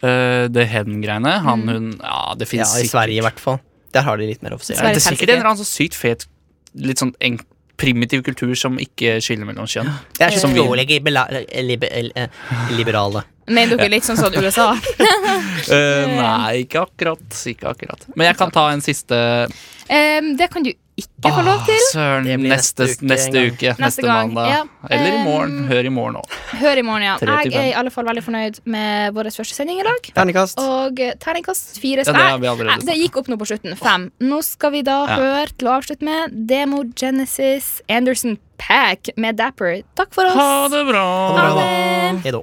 Eh, det hen-greiene, han, Mm. hun Ja, det Ja, fins i Sverige i hvert fall. Der har de litt mer offisielt. Det er sikkert en eller annen sånn sykt fet, litt sånn enk, primitiv kultur som ikke skiller mellom kjønn. Det er så Som vi- utrolig libera- liber- eh, liberale. Mener dere litt sånn sånn USA? Eh, nei, ikke akkurat. Ikke akkurat. Men jeg kan ta en siste Em, det kan du ikke få lov til. Åh, Søren, Det blir neste, neste uke en gang. neste uke. Neste, gang, mandag. ja. Eller i morgen. Um, Hør i morgen òg. Hør i morgen, ja. Tre til Jeg er fem. i alle fall veldig fornøyd med vår første sending i dag. Ternekast. Og eh, terningkast fire Ja, det har vi allerede Nei, Det gikk opp nå på slutten. Fem. Nå skal vi da Ja. høre til å avslutte med Demo Genesis Anderson Pack med Dapper. Takk for oss. Ha det bra. Ha det bra, da. Hei da.